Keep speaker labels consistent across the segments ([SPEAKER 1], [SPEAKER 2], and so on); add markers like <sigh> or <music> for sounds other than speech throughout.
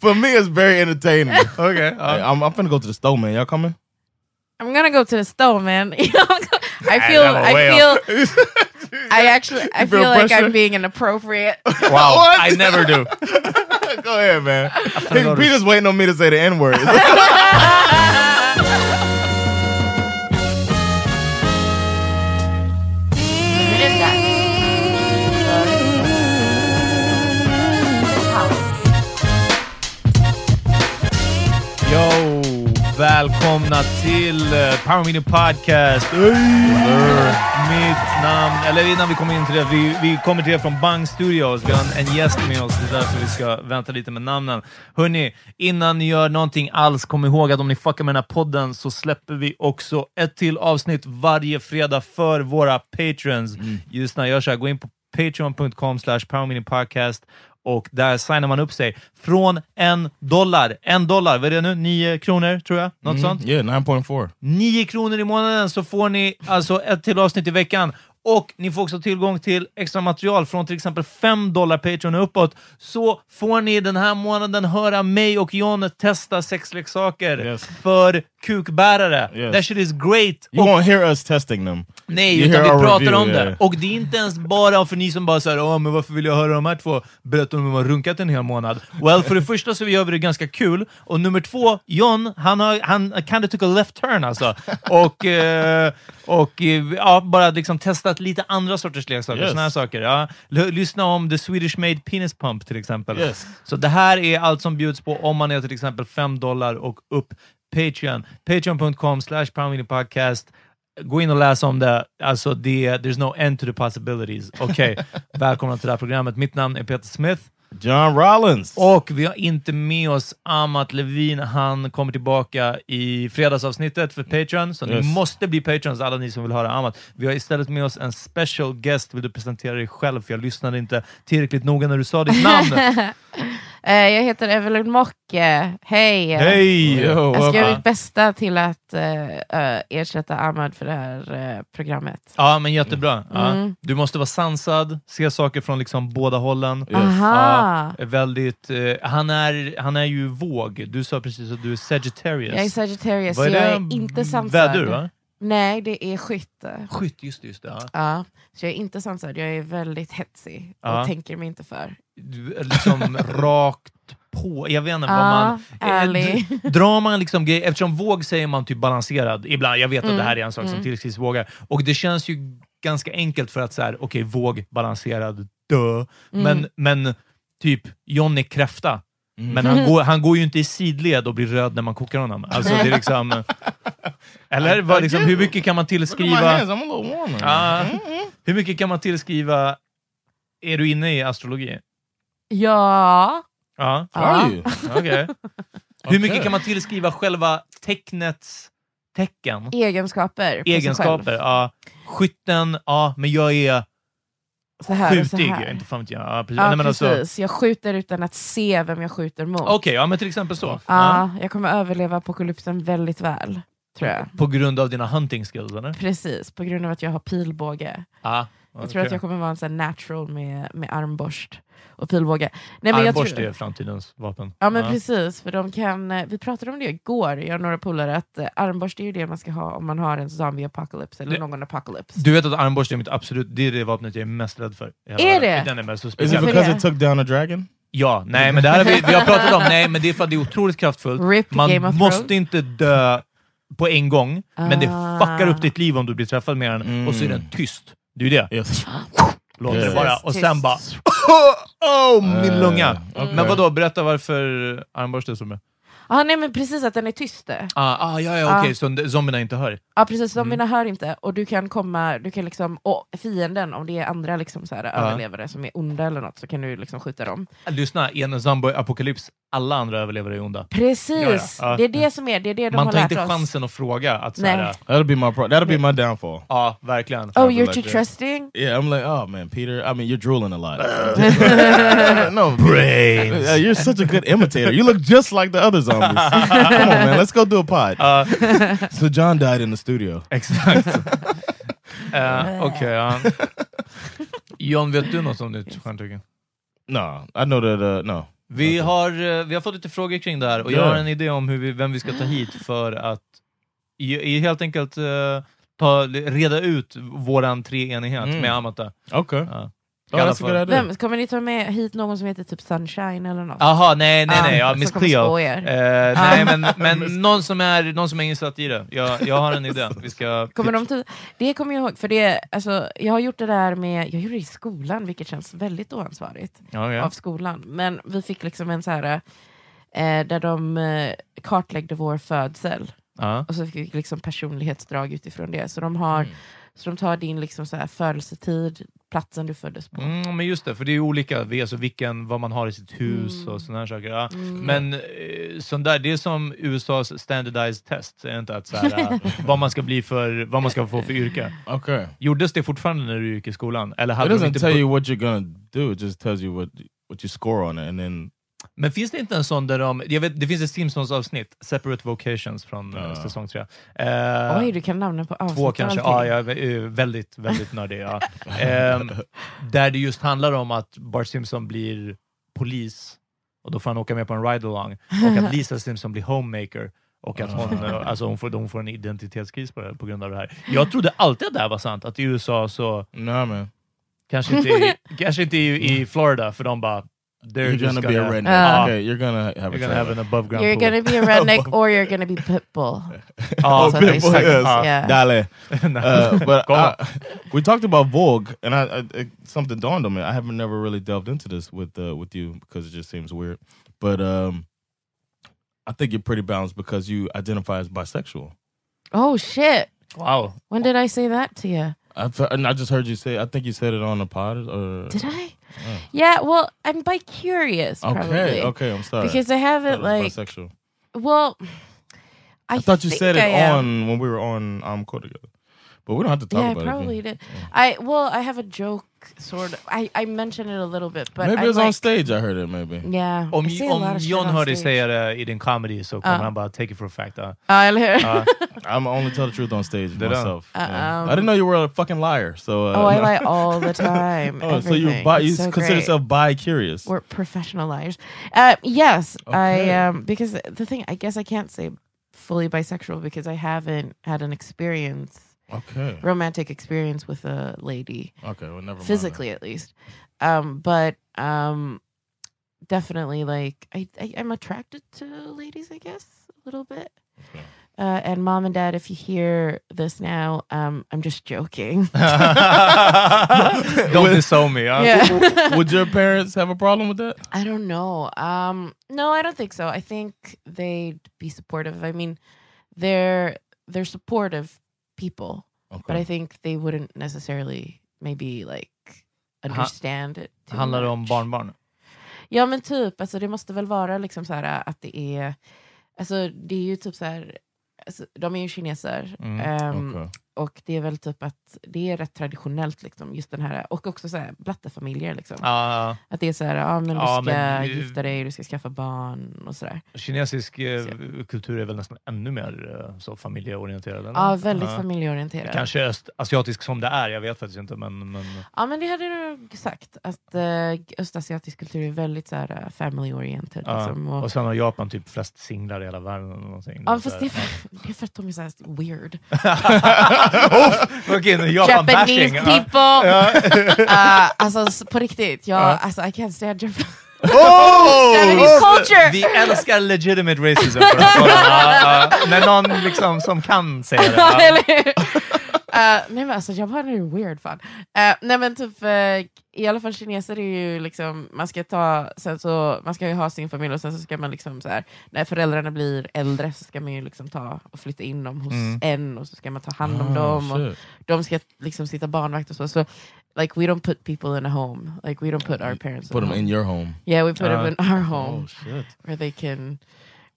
[SPEAKER 1] For me, it's very <laughs> entertaining. okay, uh, I'm, I'm finna go to the store, man. Y'all coming?
[SPEAKER 2] I'm gonna go to the store, man. <laughs> I feel,
[SPEAKER 1] that was
[SPEAKER 2] I
[SPEAKER 1] well.
[SPEAKER 2] feel, <laughs> I actually, I
[SPEAKER 1] You
[SPEAKER 2] feel,
[SPEAKER 1] feel
[SPEAKER 2] like
[SPEAKER 1] pressure?
[SPEAKER 2] I'm being inappropriate.
[SPEAKER 1] Wow, I never <laughs> do.
[SPEAKER 3] Go ahead, man.
[SPEAKER 1] Hey, Peter's waiting on me to say the N <laughs> word.
[SPEAKER 3] Yo, välkomna till
[SPEAKER 1] uh,
[SPEAKER 3] eh, Power Meeting Podcast. Mitt namn, eller innan vi kommer in till det, vi, vi kommer till det från Bang Studios. Vi har en, en gäst med oss, det är därför vi ska vänta lite med namnen. Hörni, innan ni gör någonting alls, kom ihåg att om ni fuckar med den här podden så släpper vi också ett till avsnitt varje fredag för våra patrons. Just när jag gör så här, gå in på patreon.com slash powermeetingpodcast och där signar man upp sig från en dollar. En dollar, vad är det nu? Nio kronor, tror jag? Något sånt?
[SPEAKER 1] Mm, Yeah, 9.4.
[SPEAKER 3] 9 kronor i månaden så får ni alltså ett till avsnitt i veckan. Och ni får också tillgång till extra material från till exempel 5 dollar Patreon och uppåt. Så får ni den här månaden höra mig och John testa sexleksaker
[SPEAKER 1] Yes.
[SPEAKER 3] för kukbärare.
[SPEAKER 1] Yes.
[SPEAKER 3] That shit is great!
[SPEAKER 1] You
[SPEAKER 3] Och-
[SPEAKER 1] won't hear us testing them.
[SPEAKER 3] Nej,
[SPEAKER 1] You
[SPEAKER 3] utan
[SPEAKER 1] hear
[SPEAKER 3] vi
[SPEAKER 1] our
[SPEAKER 3] pratar
[SPEAKER 1] review,
[SPEAKER 3] om det.
[SPEAKER 1] yeah.
[SPEAKER 3] Och det är inte ens bara för ni som bara säger åh men varför vill jag höra de här två berätta om hur de har runkat en hel månad? Well, för det första så gör vi det ganska kul, och nummer två, John, han, har, han kind of took a left turn alltså. Och, eh, och eh, ja, bara liksom testat lite andra sorters leksaker,
[SPEAKER 1] Yes.
[SPEAKER 3] såna här saker. Ja. L- lyssna om The Swedish Made Penis Pump till exempel.
[SPEAKER 1] Yes.
[SPEAKER 3] Så det här är allt som bjuds på om man är till exempel 5 dollar och upp Patreon. Patreon.com slash podcast. Gå in och läs om det. Alltså, det, there's no end to the possibilities. Okej, välkomna till det här programmet. Mitt namn är Peter Smith.
[SPEAKER 1] John Rollins.
[SPEAKER 3] Och vi har inte med oss Amat Levin. Han kommer tillbaka i fredagsavsnittet för Patreon, så
[SPEAKER 1] Yes.
[SPEAKER 3] ni måste bli Patrons, alla ni som vill höra Amat. Vi har istället med oss en special guest. Vill du presentera dig själv? För jag lyssnade inte tillräckligt noga när du sa ditt namn.
[SPEAKER 2] <laughs> Eh, jag heter Evelyn Mocke. Hej!
[SPEAKER 3] Hej!
[SPEAKER 2] Jag ska göra
[SPEAKER 3] Ja.
[SPEAKER 2] mitt bästa till att eh, eh, ersätta Ahmad för det här eh, programmet.
[SPEAKER 3] Ja, men jättebra. Ja.
[SPEAKER 2] Mm.
[SPEAKER 3] Du måste vara sansad, se saker från liksom båda hållen.
[SPEAKER 2] Aha!
[SPEAKER 3] Ja, väldigt, eh, han, är, han är ju våg. Du sa precis att du är Sagittarius.
[SPEAKER 2] Jag är Sagittarius, så
[SPEAKER 3] Vad är
[SPEAKER 2] jag
[SPEAKER 3] det?
[SPEAKER 2] är inte sansad.
[SPEAKER 3] Vädur, va?
[SPEAKER 2] Nej, det är skytte.
[SPEAKER 3] Skytt, just det. Just det ja.
[SPEAKER 2] Ja, så jag är inte sansad, jag är väldigt hetsig och
[SPEAKER 3] Ja.
[SPEAKER 2] tänker mig inte för.
[SPEAKER 3] Du är
[SPEAKER 2] <laughs>
[SPEAKER 3] liksom rakt på. Jag vet inte vad
[SPEAKER 2] Ja,
[SPEAKER 3] man... eh,
[SPEAKER 2] ärlig.
[SPEAKER 3] d- Drar man liksom grejer... Eftersom våg säger man typ balanserad ibland. Jag vet att
[SPEAKER 2] Mm,
[SPEAKER 3] det här är en sak som
[SPEAKER 2] mm.
[SPEAKER 3] tillskrivs vågar. Och det känns ju ganska enkelt för att så här, okej, våg, balanserad, dö. Men,
[SPEAKER 2] Mm.
[SPEAKER 3] men typ Johnny Kräfta. Men han går, han går ju inte i sidled och blir röd när man kokar honom. Alltså det är liksom... Eller vad, liksom, hur mycket kan man tillskriva...
[SPEAKER 1] I'm a little warmer.
[SPEAKER 3] Ja. hur mycket kan man tillskriva... Är du inne i astrologi?
[SPEAKER 2] <laughs> Ja,
[SPEAKER 3] Ja.
[SPEAKER 1] Are
[SPEAKER 2] Ja.
[SPEAKER 1] you?
[SPEAKER 3] Okej. Hur mycket
[SPEAKER 1] Okej.
[SPEAKER 3] kan man tillskriva själva tecknets tecken?
[SPEAKER 2] egenskaper. på sig
[SPEAKER 3] Egenskaper?
[SPEAKER 2] själv.
[SPEAKER 3] Ja. Skytten, ja, men jag är
[SPEAKER 2] Så här och så
[SPEAKER 3] skjutig.
[SPEAKER 2] här.
[SPEAKER 3] Inte fan vet jag. Ja, precis.
[SPEAKER 2] Ja,
[SPEAKER 3] Nej, men
[SPEAKER 2] precis.
[SPEAKER 3] alltså, Okej,
[SPEAKER 2] Jag skjuter utan att se vem jag skjuter mot.
[SPEAKER 3] ja, men till exempel så. Ja.
[SPEAKER 2] Ja, jag kommer överleva apokalypsen väldigt väl, tror jag.
[SPEAKER 3] På grund av dina hunting skills, eller?
[SPEAKER 2] Precis, på grund av att jag har pilbåge.
[SPEAKER 3] Ja.
[SPEAKER 2] Jag tror att jag kommer vara en sån här natural med, med armborst och pilbåge. Nej, men jag
[SPEAKER 3] Armborst
[SPEAKER 2] tror,
[SPEAKER 3] är framtidens vapen. Ah.
[SPEAKER 2] ja men precis, för de kan, eh, vi pratade om det igår, jag och några polare, att eh, armborst är ju det man ska ha om man har en zombie apocalypse eller
[SPEAKER 3] Det-
[SPEAKER 2] någon apocalypse.
[SPEAKER 3] Du vet att armborst är mitt absolut... Det är det vapnet jag är mest rädd för. i hela
[SPEAKER 2] Är
[SPEAKER 3] världen.
[SPEAKER 2] det?
[SPEAKER 3] Den är mest suspekt.
[SPEAKER 1] Is it
[SPEAKER 2] Varför
[SPEAKER 1] because
[SPEAKER 2] det?
[SPEAKER 1] it took down a dragon?
[SPEAKER 3] Ja, nej men det här har vi, vi har pratat
[SPEAKER 2] <laughs>
[SPEAKER 3] om, nej men det är för att det är otroligt kraftfullt.
[SPEAKER 2] RIP
[SPEAKER 3] Man
[SPEAKER 2] Game of
[SPEAKER 3] måste
[SPEAKER 2] Thrones.
[SPEAKER 3] inte dö på en gång, men det
[SPEAKER 2] Ah.
[SPEAKER 3] fuckar upp ditt liv om du blir träffad med den.
[SPEAKER 1] Mm.
[SPEAKER 3] Och så är den tyst. Det är ju det.
[SPEAKER 1] Yes.
[SPEAKER 3] Låter
[SPEAKER 1] Precis,
[SPEAKER 3] det bara. Och sen
[SPEAKER 2] tyst.
[SPEAKER 3] bara... <laughs> Oh, min
[SPEAKER 1] Eh,
[SPEAKER 3] lunga!
[SPEAKER 1] okej.
[SPEAKER 3] Men vadå, berätta varför armborst är som det
[SPEAKER 2] Ja, Ah, nej men precis att den är tyst. det.
[SPEAKER 3] ah, ah, Ja, ja,
[SPEAKER 2] Ah.
[SPEAKER 3] okej, så n- zombierna inte hör. Mm.
[SPEAKER 2] Ja precis, zombierna hör inte och du kan komma, du kan liksom, och fienden om det är andra liksom
[SPEAKER 3] Ah.
[SPEAKER 2] så här, överlevare som är onda eller något så kan du liksom skjuta dem.
[SPEAKER 3] Lyssna, i en zombie-apokalyps, alla andra överlevare är onda.
[SPEAKER 2] Precis!
[SPEAKER 3] Ja, ja. Ja.
[SPEAKER 2] Det är det som är, det är det de
[SPEAKER 3] Man
[SPEAKER 2] har
[SPEAKER 3] tar
[SPEAKER 2] lärt
[SPEAKER 3] inte
[SPEAKER 2] oss.
[SPEAKER 3] chansen att fråga. Att så
[SPEAKER 2] Nej.
[SPEAKER 3] här,
[SPEAKER 1] That'll be my pro- that'll be my downfall.
[SPEAKER 3] ja, verkligen.
[SPEAKER 2] Oh
[SPEAKER 1] Something
[SPEAKER 2] you're
[SPEAKER 1] like
[SPEAKER 2] too
[SPEAKER 3] <laughs>
[SPEAKER 1] that.
[SPEAKER 2] trusting?
[SPEAKER 1] Yeah, I'm like, oh man, Peter. I mean, you're drooling a lot.
[SPEAKER 2] <laughs>
[SPEAKER 1] no brains. you're such a good imitator. You look just like the other zombies. Come on, man. Let's go do a pod.
[SPEAKER 3] Ah.
[SPEAKER 1] <laughs> so John died in the studio.
[SPEAKER 3] Exakt. Eh, Okej,
[SPEAKER 2] <laughs>
[SPEAKER 3] ja. John, vet du något om ditt stjärntecken?
[SPEAKER 1] No, I know that. Uh, no.
[SPEAKER 3] Vi, har, eh, vi har fått lite frågor kring det här och jag
[SPEAKER 1] Ja.
[SPEAKER 3] har en idé om hur vi, vem vi ska ta hit för att i, i helt enkelt eh, ta, reda ut våran treenighet
[SPEAKER 1] Mm.
[SPEAKER 3] med Amata.
[SPEAKER 1] Okay.
[SPEAKER 3] Ja.
[SPEAKER 1] Oh, that's a good idea.
[SPEAKER 2] Vem, kommer ni ta med hit någon som heter typ Sunshine eller något?
[SPEAKER 3] Aha, nej, nej,
[SPEAKER 2] Ah,
[SPEAKER 3] nej. Ja,
[SPEAKER 2] som
[SPEAKER 3] Miss
[SPEAKER 2] kommer
[SPEAKER 3] Cleo.
[SPEAKER 2] slå er. Ah.
[SPEAKER 3] Eh, nej, men,
[SPEAKER 2] <laughs>
[SPEAKER 3] men någon, som är, någon som är insatt i det. Jag, jag har en idé. Vi ska...
[SPEAKER 2] Kommer de till, det kommer jag ihåg, för det, alltså, jag har gjort det där med, jag gjorde det i skolan vilket känns väldigt oansvarigt.
[SPEAKER 3] Ja, ja.
[SPEAKER 2] av skolan. Men vi fick liksom en så här, eh, där de eh, kartläggde vår födsel.
[SPEAKER 3] Ja. Mm.
[SPEAKER 2] Och så fick vi liksom personlighetsdrag utifrån det. Så de, har, så de tar din liksom så här födelsetid, platsen du föddes på.
[SPEAKER 3] Mm, men just det, för det är ju olika. Vi- Alltså vilken, vad man har i sitt hus och sådana här saker. Ja. Men eh, sånt där, det är som USAs standardized test. Är inte att så här, eh, vad, man ska bli för, vad man ska få för yrke.
[SPEAKER 1] Okay.
[SPEAKER 3] Gjordes det fortfarande när du gick i skolan? Eller
[SPEAKER 1] It
[SPEAKER 3] hade de
[SPEAKER 1] doesn't
[SPEAKER 3] inte
[SPEAKER 1] tell
[SPEAKER 3] bu-
[SPEAKER 1] you what you're gonna do. It just tells you what what you score on it, and then
[SPEAKER 3] Men finns det inte en sån där de... Jag vet, det finns ett Simpsons-avsnitt, Separate Vocations, från eh,
[SPEAKER 1] Ja.
[SPEAKER 3] säsong 3. Eh,
[SPEAKER 2] Oj, du kan namnen på avsnitt
[SPEAKER 3] Två
[SPEAKER 2] och
[SPEAKER 3] kanske, ja,
[SPEAKER 2] allting.
[SPEAKER 3] jag är eh, väldigt, väldigt nördig. Ja. Ehm, där det just handlar om att Bart Simpson blir polis och då får han åka med på en ride-along och att Lisa Simpson blir homemaker och att hon, eh, alltså hon, får, hon får en identitetskris på, det, på grund av det här. Jag trodde alltid att det här var sant, att i USA så
[SPEAKER 1] nah, man,
[SPEAKER 3] kanske inte,
[SPEAKER 2] <laughs>
[SPEAKER 3] i, kanske inte i, i Florida, för de bara... They're
[SPEAKER 1] you're
[SPEAKER 3] just Ah.
[SPEAKER 1] gonna, be a redneck.
[SPEAKER 2] Uh,
[SPEAKER 1] okay, you're gonna have
[SPEAKER 3] You're
[SPEAKER 1] a
[SPEAKER 3] gonna have
[SPEAKER 1] <laughs>
[SPEAKER 3] an above ground
[SPEAKER 2] Ah. You're
[SPEAKER 3] pool.
[SPEAKER 2] gonna be
[SPEAKER 3] <laughs>
[SPEAKER 2] a redneck or you're gonna be pitbull.
[SPEAKER 3] Ja,
[SPEAKER 2] Så att det är
[SPEAKER 1] pitbull,
[SPEAKER 2] sagt.
[SPEAKER 1] yes.
[SPEAKER 2] Ja.
[SPEAKER 3] <laughs>
[SPEAKER 1] Dale. Uh, but
[SPEAKER 3] Ah. Go on.
[SPEAKER 1] I, we talked about Vogue, and I, I, I- something dawned on me. I haven't never really delved into this with uh, with you because it just seems weird. But um, I think you're pretty balanced because you identify as bisexual.
[SPEAKER 2] Oh shit!
[SPEAKER 3] Wow.
[SPEAKER 2] When did I say that to you?
[SPEAKER 1] I've, and I just heard you say. I think you said it on the pod. Or
[SPEAKER 2] Did I? Yeah, well, I'm bicurious probably.
[SPEAKER 1] Okay, okay, I'm sorry.
[SPEAKER 2] Because I haven't
[SPEAKER 1] Thought it was
[SPEAKER 2] like
[SPEAKER 1] bisexual.
[SPEAKER 2] well I,
[SPEAKER 1] I thought you
[SPEAKER 2] think
[SPEAKER 1] said
[SPEAKER 2] I
[SPEAKER 1] it
[SPEAKER 2] am.
[SPEAKER 1] on when we were on um code together, but we don't have to talk
[SPEAKER 2] Yeah, I
[SPEAKER 1] about it.
[SPEAKER 2] probably did. I well, I have a joke sort of. I, I mentioned it a little bit, but
[SPEAKER 1] maybe
[SPEAKER 2] I'm
[SPEAKER 1] it was
[SPEAKER 2] like,
[SPEAKER 1] on stage. I heard it. Maybe.
[SPEAKER 2] <laughs> Yeah,
[SPEAKER 3] Om,
[SPEAKER 2] I say a lot
[SPEAKER 3] om
[SPEAKER 2] of shit
[SPEAKER 3] John
[SPEAKER 2] on
[SPEAKER 3] hör dig
[SPEAKER 2] stage. Uh. Oh,
[SPEAKER 3] säga det i din uh, comedy så kommer
[SPEAKER 2] Ja.
[SPEAKER 3] han bara take it for a fact. uh. ja.
[SPEAKER 2] Ja, eller hur?
[SPEAKER 3] Ja.
[SPEAKER 1] I'm only tell the truth on stage
[SPEAKER 3] Did I?
[SPEAKER 1] myself. Yeah.
[SPEAKER 2] um,
[SPEAKER 1] I didn't know you were a fucking liar. So. Uh,
[SPEAKER 2] <laughs> oh, I lie all the time.
[SPEAKER 1] <laughs> Oh, so you
[SPEAKER 2] everything.
[SPEAKER 1] bi- you
[SPEAKER 2] It's so
[SPEAKER 1] consider
[SPEAKER 2] great.
[SPEAKER 1] yourself bi curious?
[SPEAKER 2] We're professional liars. Uh, yes,
[SPEAKER 1] Okay.
[SPEAKER 2] I um because the thing I guess I can't say fully bisexual because I haven't had an experience,
[SPEAKER 1] Okay.
[SPEAKER 2] romantic experience with a lady.
[SPEAKER 1] Okay. Well, never mind.
[SPEAKER 2] physically at least um but um definitely like I, I i'm attracted to ladies i guess a little bit
[SPEAKER 1] Okay.
[SPEAKER 2] uh and mom and dad if you hear this now um i'm just joking
[SPEAKER 1] <laughs>
[SPEAKER 3] Don't disown me. ja.
[SPEAKER 2] yeah
[SPEAKER 1] Uh, <laughs> Would your parents have a problem with that?
[SPEAKER 2] i don't know um no i don't think so i think they'd be supportive i mean they're they're supportive people
[SPEAKER 1] Okay.
[SPEAKER 2] but i think they wouldn't necessarily maybe like understand it too
[SPEAKER 3] Handlar det om
[SPEAKER 2] much.
[SPEAKER 3] barnbarn?
[SPEAKER 2] Ja men typ, alltså, det måste väl vara liksom så här att det är, alltså det är ju typ så här, alltså, de är ju kineser.
[SPEAKER 3] Mm,
[SPEAKER 2] ehm,
[SPEAKER 1] Okay.
[SPEAKER 2] Och det är väl typ att det är rätt traditionellt liksom, just den här, och också så här blattefamiljer liksom.
[SPEAKER 3] Ja,
[SPEAKER 2] Att det är så här, ja men du
[SPEAKER 3] Ja,
[SPEAKER 2] ska
[SPEAKER 3] men-
[SPEAKER 2] gifta dig, du ska skaffa barn och sådär.
[SPEAKER 3] kinesisk eh, kultur är väl nästan ännu mer eh, så familjeorienterad? eller?
[SPEAKER 2] Ja, väldigt
[SPEAKER 3] Ja.
[SPEAKER 2] familjeorienterat.
[SPEAKER 3] Kanske östasiatisk som det är, jag vet faktiskt inte. Men, men,
[SPEAKER 2] Ja men det hade du nog sagt, att eh, östasiatisk kultur är väldigt så här eh, family-oriented.
[SPEAKER 3] ja.
[SPEAKER 2] liksom, och,
[SPEAKER 3] och sen har Japan typ flest singlar i hela världen. Eller någonting.
[SPEAKER 2] ja
[SPEAKER 3] Så här.
[SPEAKER 2] fast det är, för, det är för att de är så här
[SPEAKER 3] <laughs>
[SPEAKER 2] weird.
[SPEAKER 3] Uff, Okej, nu Japan
[SPEAKER 2] Japanese
[SPEAKER 3] bashing. Ja.
[SPEAKER 2] people! <laughs> uh, alltså s- på riktigt, jag, alltså, I can't stand Japan. Japanese
[SPEAKER 3] Ah!
[SPEAKER 2] culture!
[SPEAKER 3] Oh! Vi älskar legitimate racism. på den här
[SPEAKER 2] <laughs>
[SPEAKER 3] podden. Ja, ja. När någon liksom som kan säga det.
[SPEAKER 2] Ja,
[SPEAKER 3] Ja.
[SPEAKER 2] Eller hur? <laughs> Eh, nej men alltså Japan är ju weird fan. Eh, nej men typ, eh, i alla fall kineser är ju liksom, man ska ta, sen så, man ska ju ha sin familj och sen så ska man liksom så här, när föräldrarna blir äldre så ska man ju liksom ta och flytta in dem hos en och så ska man ta hand om dem och
[SPEAKER 1] Mm. Ah, shit.
[SPEAKER 2] de ska liksom sitta barnvakt och så. så Like we don't put people in a home. Like we don't put our parents
[SPEAKER 1] Put
[SPEAKER 2] in
[SPEAKER 1] them
[SPEAKER 2] a home.
[SPEAKER 1] in your home.
[SPEAKER 2] Yeah, we put them in our home
[SPEAKER 1] Oh shit.
[SPEAKER 2] where they can,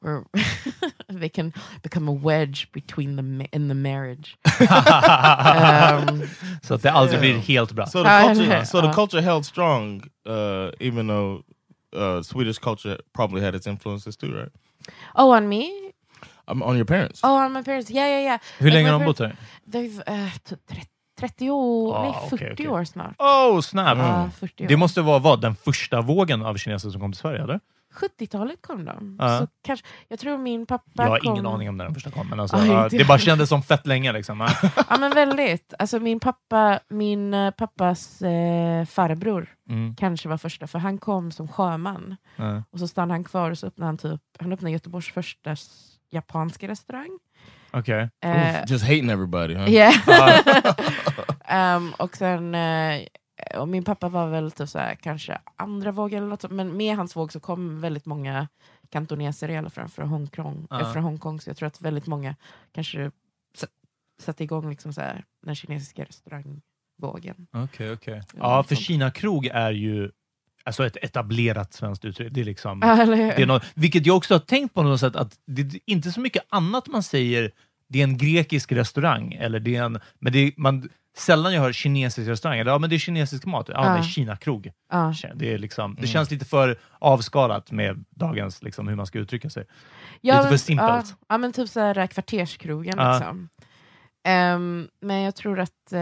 [SPEAKER 2] where <laughs> they can become a wedge between the ma- in the
[SPEAKER 3] <laughs>
[SPEAKER 2] marriage. um,
[SPEAKER 3] Så att det aldrig blir helt bra.
[SPEAKER 1] So the
[SPEAKER 2] Uh,
[SPEAKER 1] culture, so the
[SPEAKER 2] uh.
[SPEAKER 1] culture held strong, uh, even though uh, Swedish culture probably had its influences too, right?
[SPEAKER 2] oh, on me?
[SPEAKER 1] Um, on your parents.
[SPEAKER 2] Oh, on my parents? Yeah, yeah, yeah.
[SPEAKER 3] Hur länge
[SPEAKER 2] my
[SPEAKER 3] har de
[SPEAKER 2] par-
[SPEAKER 3] bott här?
[SPEAKER 2] They've uh, typ tre- 30 år,
[SPEAKER 3] Ah,
[SPEAKER 2] nej 40
[SPEAKER 3] okej, okej.
[SPEAKER 2] år snart.
[SPEAKER 3] Oh, snap!
[SPEAKER 2] Ja, 40 år.
[SPEAKER 3] Det måste vara vad, den första vågen av kineser som kom till Sverige, eller?
[SPEAKER 2] 70-talet kom de.
[SPEAKER 3] Ja.
[SPEAKER 2] Så kanske, jag tror min pappa
[SPEAKER 3] Jag har
[SPEAKER 2] kom...
[SPEAKER 3] ingen aning om när den första kom, men alltså,
[SPEAKER 2] Aj,
[SPEAKER 3] ja,
[SPEAKER 2] det-
[SPEAKER 3] det bara kändes som fett länge.
[SPEAKER 2] <laughs>
[SPEAKER 3] Liksom. Ja.
[SPEAKER 2] Ja men väldigt. Alltså min pappa, min eh, pappas eh, farbror
[SPEAKER 3] Mm.
[SPEAKER 2] kanske var första, för han kom som sjöman.
[SPEAKER 3] Ja.
[SPEAKER 2] Och så stannade han kvar och så öppnade han typ, han öppnade Göteborgs första s- japanska restaurang.
[SPEAKER 3] Okej.
[SPEAKER 2] Eh,
[SPEAKER 1] Just hating everybody, huh?
[SPEAKER 2] yeah.
[SPEAKER 3] <laughs>
[SPEAKER 2] Ehm, och sen, eh, och min pappa var väl typ så här, kanske andra våg eller något, sånt, men med hans våg så kom väldigt många kantoneser i alla fall från Hongkong,
[SPEAKER 3] Ja.
[SPEAKER 2] eh, från Hongkong, så jag tror att väldigt många kanske s- satte igång liksom så här, den kinesiska restaurangvågen.
[SPEAKER 3] Okej, okej. Oh, Ja, för Kina-krog är ju alltså ett etablerat svenskt uttryck. Det är liksom...
[SPEAKER 2] Ja, eller hur?
[SPEAKER 3] Det är något, vilket jag också har tänkt på något sätt, att det är inte så mycket annat man säger, det är en grekisk restaurang, eller det är en, men det är, man, sällan jag hör kinesisk restaurang, eller ja, men det är kinesisk mat, ja, det är
[SPEAKER 2] Ja.
[SPEAKER 3] Kina-krog.
[SPEAKER 2] Ja.
[SPEAKER 3] Det, är liksom, det känns lite för avskalat med dagens, liksom, hur man ska uttrycka sig.
[SPEAKER 2] Ja,
[SPEAKER 3] Lite för
[SPEAKER 2] men-
[SPEAKER 3] simpelt.
[SPEAKER 2] Ja, ja men typ så här kvarterskrogen
[SPEAKER 3] Ja.
[SPEAKER 2] liksom. Ehm, men jag tror att, eh,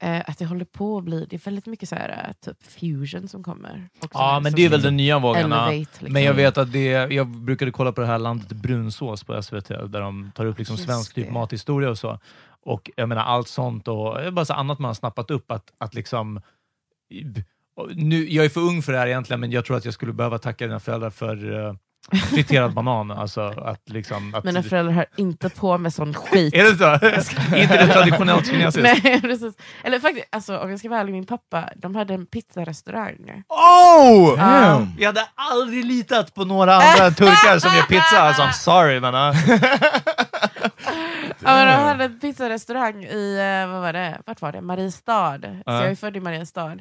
[SPEAKER 2] eh, att det håller på att bli, det är väldigt mycket så här eh, typ fusion som kommer. också
[SPEAKER 3] Ja,
[SPEAKER 2] nu,
[SPEAKER 3] men
[SPEAKER 2] som
[SPEAKER 3] det är väl den nya vågen. ja.
[SPEAKER 2] elevate, liksom.
[SPEAKER 3] Men jag vet att det, jag brukade kolla på det här Landet Brunsås på SVT, där de tar upp liksom
[SPEAKER 2] Just
[SPEAKER 3] svensk typ
[SPEAKER 2] det.
[SPEAKER 3] mathistoria och så. Och jag menar allt sånt och det är bara så annat man har snappat upp att, att liksom... och Nu, jag är för ung för det här egentligen, men jag tror att jag skulle behöva tacka dina föräldrar för
[SPEAKER 2] <laughs>
[SPEAKER 3] eh, friterad banan. Alltså, att liksom, att,
[SPEAKER 2] Mina föräldrar hör inte på med sån
[SPEAKER 3] <laughs>
[SPEAKER 2] skit.
[SPEAKER 3] är det <laughs> så? Inte det traditionellt kinesiskt?
[SPEAKER 2] Nej, <laughs> precis. Eller faktiskt, alltså, om jag ska vara ärlig, min pappa, de hade en pizzarestaurang.
[SPEAKER 3] Oh!
[SPEAKER 2] Damn.
[SPEAKER 3] Jag hade aldrig litat på några andra turkar som gör pizza. Alltså, I'm sorry, men... ah.
[SPEAKER 2] Ja, men de hade en pizzarestaurang i, eh, vad var det? Vart var det? Mariestad. Så jag är född i Mariestad.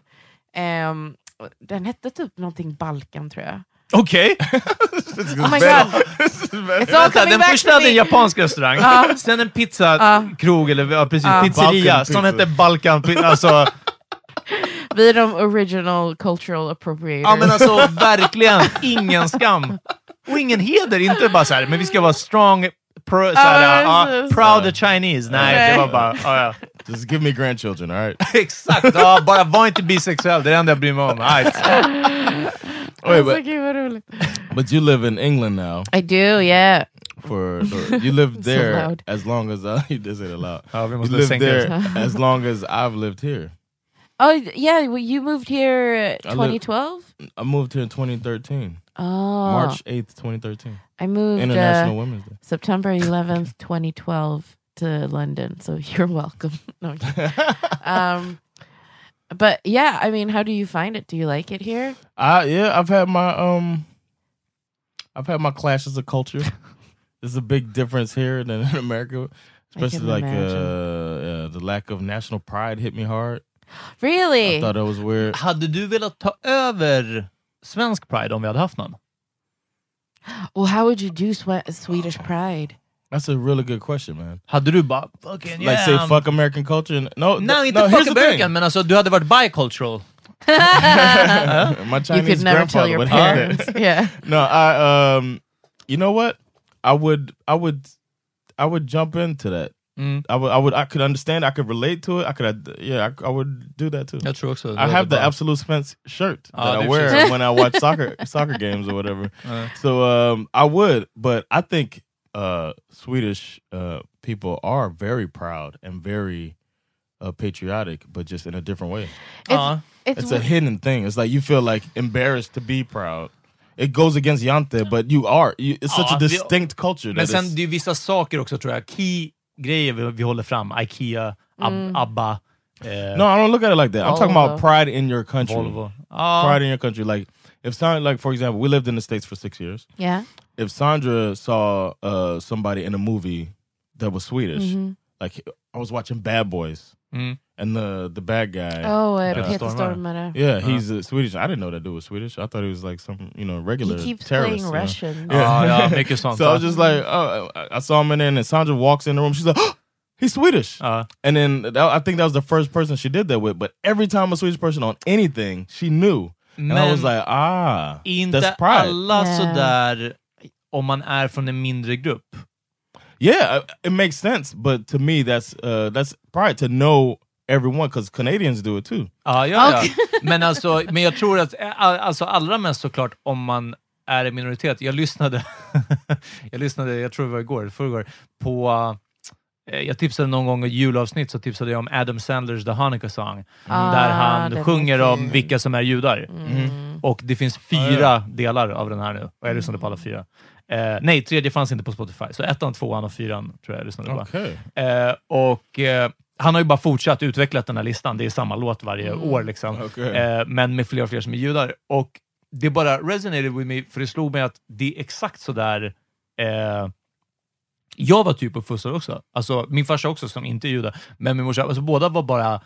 [SPEAKER 2] Ehm, och den hette typ någonting Balkan tror jag.
[SPEAKER 3] Okej!
[SPEAKER 2] Oh my god! It's all
[SPEAKER 3] Vänta,
[SPEAKER 2] coming
[SPEAKER 3] den
[SPEAKER 2] back
[SPEAKER 3] första
[SPEAKER 2] to
[SPEAKER 3] hade en
[SPEAKER 2] me.
[SPEAKER 3] japansk restaurang,
[SPEAKER 2] Ja.
[SPEAKER 3] sen en
[SPEAKER 2] Ja.
[SPEAKER 3] pizzakrog, eller ja, precis,
[SPEAKER 2] Ja.
[SPEAKER 3] pizzeria,
[SPEAKER 4] Balkan
[SPEAKER 3] som
[SPEAKER 4] pizza.
[SPEAKER 3] hette Balkan pi- alltså,
[SPEAKER 2] Vi är de original cultural appropriators.
[SPEAKER 3] Ja men alltså verkligen ingen skam. Och ingen heder, inte bara så här, men vi ska vara strong, pro, så här,
[SPEAKER 2] Ja,
[SPEAKER 3] ja,
[SPEAKER 2] precis.
[SPEAKER 3] proud Chinese. Nej, det
[SPEAKER 2] Nej.
[SPEAKER 3] var bara... Ja, ja.
[SPEAKER 4] Just give me grandchildren, all right?
[SPEAKER 3] Exakt! Ja, bara var inte bisexuell, det är det enda jag bryr mig om. Right.
[SPEAKER 4] Wait,
[SPEAKER 2] alltså,
[SPEAKER 4] but,
[SPEAKER 2] gud vad roligt.
[SPEAKER 4] but you live in England now.
[SPEAKER 2] I do, yeah. <laughs>
[SPEAKER 4] For for- you lived there
[SPEAKER 2] loud.
[SPEAKER 4] as long as I, <laughs> you did say it loud.
[SPEAKER 3] Ja, vi
[SPEAKER 4] You
[SPEAKER 3] måste
[SPEAKER 4] lived
[SPEAKER 3] sänka
[SPEAKER 4] there
[SPEAKER 3] det.
[SPEAKER 4] <laughs> as long as I've lived here.
[SPEAKER 2] Oh yeah, well, you moved here uh,
[SPEAKER 4] I live-
[SPEAKER 2] 2012?
[SPEAKER 4] I moved here in 2013,
[SPEAKER 2] Oh,
[SPEAKER 4] March 8th, 2013.
[SPEAKER 2] I moved
[SPEAKER 4] International
[SPEAKER 2] uh,
[SPEAKER 4] Women's Day.
[SPEAKER 2] September 11th, 2012 to London. So <laughs> you're welcome. no,
[SPEAKER 4] <laughs>
[SPEAKER 2] I'm kidding. um, but yeah, I mean, how do you find it? Do you like it here?
[SPEAKER 4] I yeah, I've had my um, I've had my clashes of culture. <laughs> There's a big difference here than in America,
[SPEAKER 2] can
[SPEAKER 4] especially like uh,
[SPEAKER 2] imagine.
[SPEAKER 4] uh, the lack of national pride hit me hard. I
[SPEAKER 2] Really?
[SPEAKER 4] thought that was weird.
[SPEAKER 3] Hade du velat ta över svensk pride om vi hade haft någon?
[SPEAKER 2] Well, how would you do swe- Swedish Pride?
[SPEAKER 4] That's a really good question, man.
[SPEAKER 3] Hade du bara fucking
[SPEAKER 4] Like
[SPEAKER 3] yeah, um,
[SPEAKER 4] say
[SPEAKER 3] I'm- <laughs>
[SPEAKER 4] fuck American culture and no,
[SPEAKER 3] Nej, inte
[SPEAKER 4] th- no, here's
[SPEAKER 3] fuck
[SPEAKER 4] the
[SPEAKER 3] American, men alltså du hade varit bicultural.
[SPEAKER 4] thing. <laughs> My
[SPEAKER 2] You
[SPEAKER 4] Chinese
[SPEAKER 2] could never tell
[SPEAKER 4] grandfather
[SPEAKER 2] your
[SPEAKER 4] would hate that.
[SPEAKER 3] <laughs>
[SPEAKER 2] parents. <laughs> yeah.
[SPEAKER 4] <laughs> No, I um, you know what? I would, I would, I would jump into that.
[SPEAKER 3] Mm.
[SPEAKER 4] I would, I would, I could understand. I could relate to it. I could, yeah, I, I would do that too.
[SPEAKER 3] Jag tror också
[SPEAKER 4] I have the absolute Spence shirt
[SPEAKER 3] Ah,
[SPEAKER 4] that I
[SPEAKER 3] they've
[SPEAKER 4] wear
[SPEAKER 3] changed.
[SPEAKER 4] when I watch soccer
[SPEAKER 3] <laughs>
[SPEAKER 4] soccer games or whatever.
[SPEAKER 3] Uh.
[SPEAKER 4] So um, I would, but I think uh, Swedish uh, people are very proud and very uh, patriotic, but just in a different way.
[SPEAKER 3] Ja.
[SPEAKER 2] It's,
[SPEAKER 4] It's a hidden thing. It's like you feel like embarrassed to be proud. It goes against Yante, but you are. You, it's such
[SPEAKER 3] Ah,
[SPEAKER 4] a
[SPEAKER 3] the-
[SPEAKER 4] distinct culture.
[SPEAKER 3] Men
[SPEAKER 4] That
[SPEAKER 3] sen
[SPEAKER 4] is-
[SPEAKER 3] det är ju vissa saker också tror jag. Key-grejer vi, vi håller fram. Ikea, Ab ABBA, eh,
[SPEAKER 4] no, I don't look at it like that. I'm talking about
[SPEAKER 2] Mm. Volvo.
[SPEAKER 4] pride in your country.
[SPEAKER 3] Volvo. Ah. Ja.
[SPEAKER 4] Pride in your country. Like if sound like for example, we lived in the states for six years.
[SPEAKER 2] yeah.
[SPEAKER 4] if Sandra saw uh, somebody in a movie that was Swedish,
[SPEAKER 2] Mm-hmm.
[SPEAKER 4] like I was watching Bad Boys,
[SPEAKER 3] Mm.
[SPEAKER 4] and the the bad guy,
[SPEAKER 2] Oh, uh,
[SPEAKER 4] Yeah.
[SPEAKER 2] Peter
[SPEAKER 3] Stormare.
[SPEAKER 2] Stormare.
[SPEAKER 4] yeah, he's uh, Swedish. I didn't know that dude was Swedish. I thought he was like some you know regular
[SPEAKER 2] He keeps
[SPEAKER 4] terrorist.
[SPEAKER 2] playing
[SPEAKER 4] you know?
[SPEAKER 2] Russian.
[SPEAKER 3] Ja,
[SPEAKER 4] <laughs>
[SPEAKER 3] ja, mycket sånt.
[SPEAKER 4] So I was just like, oh, I- I saw him in there, and then Sandra walks in the room. She's like, "Oh, he's Swedish.
[SPEAKER 3] Ja.
[SPEAKER 4] And then that, I think that was the first person she did that with. But every time a Swedish person on anything, she knew. And I
[SPEAKER 3] Men-
[SPEAKER 4] was like, ah,
[SPEAKER 3] inte
[SPEAKER 4] that's pride.
[SPEAKER 3] alla
[SPEAKER 2] Yeah.
[SPEAKER 3] sådär om man är från en mindre grupp.
[SPEAKER 4] Yeah, I- it makes sense, but to me, that's uh, that's pride to know everyone because Canadians do it too.
[SPEAKER 3] Ja, ja, ja. Men, alltså, men jag tror att eh, all- alltså, allra mest såklart om man är en minoritet. Jag lyssnade, jag lyssnade, jag tror det var igår, förrgår, på... eh, Jag tipsade någon gång i julavsnitt så tipsade jag om Adam Sandlers The Hanukkah Song, där
[SPEAKER 2] Ah, den
[SPEAKER 3] han
[SPEAKER 2] är
[SPEAKER 3] sjunger om
[SPEAKER 2] fin.
[SPEAKER 3] vilka som är judar. Och det finns fyra delar av den här nu, och jag lyssnade på alla fyra. Eh, nej, tredje fanns inte på Spotify, så ettan, tvåan och fyran tror jag jag lyssnade på.
[SPEAKER 4] Okay.
[SPEAKER 3] Eh, och eh, han har ju bara fortsatt utvecklat den här listan. Det är samma låt varje år, liksom.
[SPEAKER 4] Mm. Okej.
[SPEAKER 3] eh, men med fler och fler som är judar. Och det bara resonated with me, för det slog mig att det är exakt så där eh, jag var typ uppfostrad också. Alltså, min farsa också, som inte är jude, men min morsa, alltså, båda var bara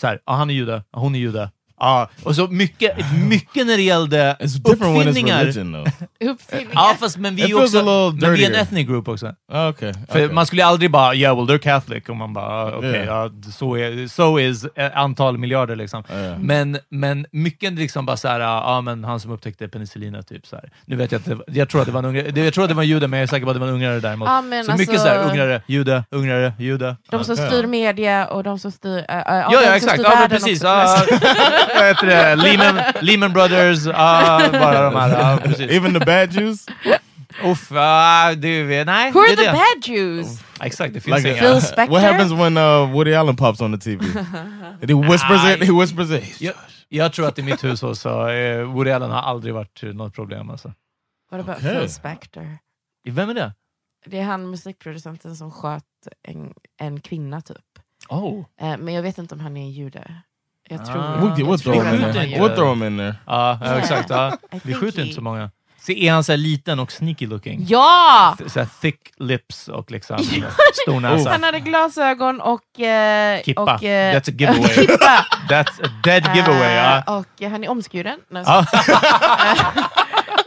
[SPEAKER 3] så här, ah, han är jude, ah, hon är jude. Ah, och så mycket, mycket när det gällde
[SPEAKER 4] It's different when it's
[SPEAKER 3] uppfinningar.
[SPEAKER 4] religion, though.
[SPEAKER 2] Uppfinningar.
[SPEAKER 3] Ja, fast men vi,
[SPEAKER 4] It
[SPEAKER 3] är
[SPEAKER 4] feels a
[SPEAKER 3] också,
[SPEAKER 4] little
[SPEAKER 3] men vi är en
[SPEAKER 4] dirtier.
[SPEAKER 3] ethnic group också.
[SPEAKER 4] okay,
[SPEAKER 3] För
[SPEAKER 4] okay.
[SPEAKER 3] man skulle aldrig bara “yeah, well they're Catholic” och man bara ah, “okej,
[SPEAKER 4] Yeah.
[SPEAKER 3] ja, så är so is eh, antal miljarder”. Liksom.
[SPEAKER 4] yeah.
[SPEAKER 3] Men, men mycket liksom bara såhär, ja men han som upptäckte penicillinet, typ så här. Nu vet jag inte, jag tror att det var en ungrare, det- jag tror att det var en jude, men jag är säker på att det var en ungrare däremot.
[SPEAKER 2] Ja, men
[SPEAKER 3] så mycket
[SPEAKER 2] alltså-
[SPEAKER 3] såhär, ungrare, jude, ungrare, jude.
[SPEAKER 2] De som styr media och de som styr... äh, äh,
[SPEAKER 3] Ja,
[SPEAKER 2] de
[SPEAKER 3] ja
[SPEAKER 2] som
[SPEAKER 3] exakt.
[SPEAKER 2] styr
[SPEAKER 3] Ja, men
[SPEAKER 2] världen
[SPEAKER 3] precis.
[SPEAKER 2] också.
[SPEAKER 3] Ja,
[SPEAKER 2] <laughs>
[SPEAKER 3] vad heter det? Lehman, Lehman Brothers, ja, bara de här.
[SPEAKER 4] <laughs>
[SPEAKER 3] ja, precis.
[SPEAKER 4] Even the bad <laughs> Jews,
[SPEAKER 3] Uff, ja, du, nej.
[SPEAKER 2] Who are
[SPEAKER 3] det är
[SPEAKER 2] the
[SPEAKER 3] det.
[SPEAKER 2] bad Jews?
[SPEAKER 3] Exakt, det finns
[SPEAKER 4] like uh,
[SPEAKER 3] inga.
[SPEAKER 2] Phil Spector?
[SPEAKER 4] what happens when uh, Woody Allen pops on the
[SPEAKER 2] <laughs>
[SPEAKER 4] TV? and he whispers it. He whispers it.
[SPEAKER 3] Jag, jag tror att i mitt hushåll så eh, Woody Allen har aldrig varit eh, något problem. Alltså.
[SPEAKER 2] What about
[SPEAKER 4] Okej.
[SPEAKER 2] Phil Spector?
[SPEAKER 3] Vem är det?
[SPEAKER 2] Det är han musikproducenten som sköt en, en kvinna typ.
[SPEAKER 3] Oh.
[SPEAKER 2] Eh, men jag vet inte om han är jude. Jag tror
[SPEAKER 3] Ah.
[SPEAKER 4] We'll, we'll throw
[SPEAKER 2] jag tror
[SPEAKER 4] him in
[SPEAKER 2] att han
[SPEAKER 4] there.
[SPEAKER 2] är
[SPEAKER 3] Yeah. Uh,
[SPEAKER 2] jude.
[SPEAKER 4] We'll throw him in there.
[SPEAKER 3] Ja, ja,
[SPEAKER 2] Yeah.
[SPEAKER 3] exakt. Ja.
[SPEAKER 2] I
[SPEAKER 3] Vi
[SPEAKER 2] think
[SPEAKER 3] skjuter
[SPEAKER 2] he-
[SPEAKER 3] inte så många. Så är han så här liten och sneaky looking?
[SPEAKER 2] Ja!
[SPEAKER 3] Så här thick lips och liksom stor
[SPEAKER 2] Han
[SPEAKER 3] näsa.
[SPEAKER 2] hade glasögon och... Eh,
[SPEAKER 3] Kippa.
[SPEAKER 2] och eh,
[SPEAKER 3] That's a giveaway.
[SPEAKER 2] <laughs> Kippa.
[SPEAKER 3] That's a dead giveaway. ja.
[SPEAKER 2] Eh, Och eh, han är omskuren. Nej,
[SPEAKER 3] Ja.
[SPEAKER 2] <laughs>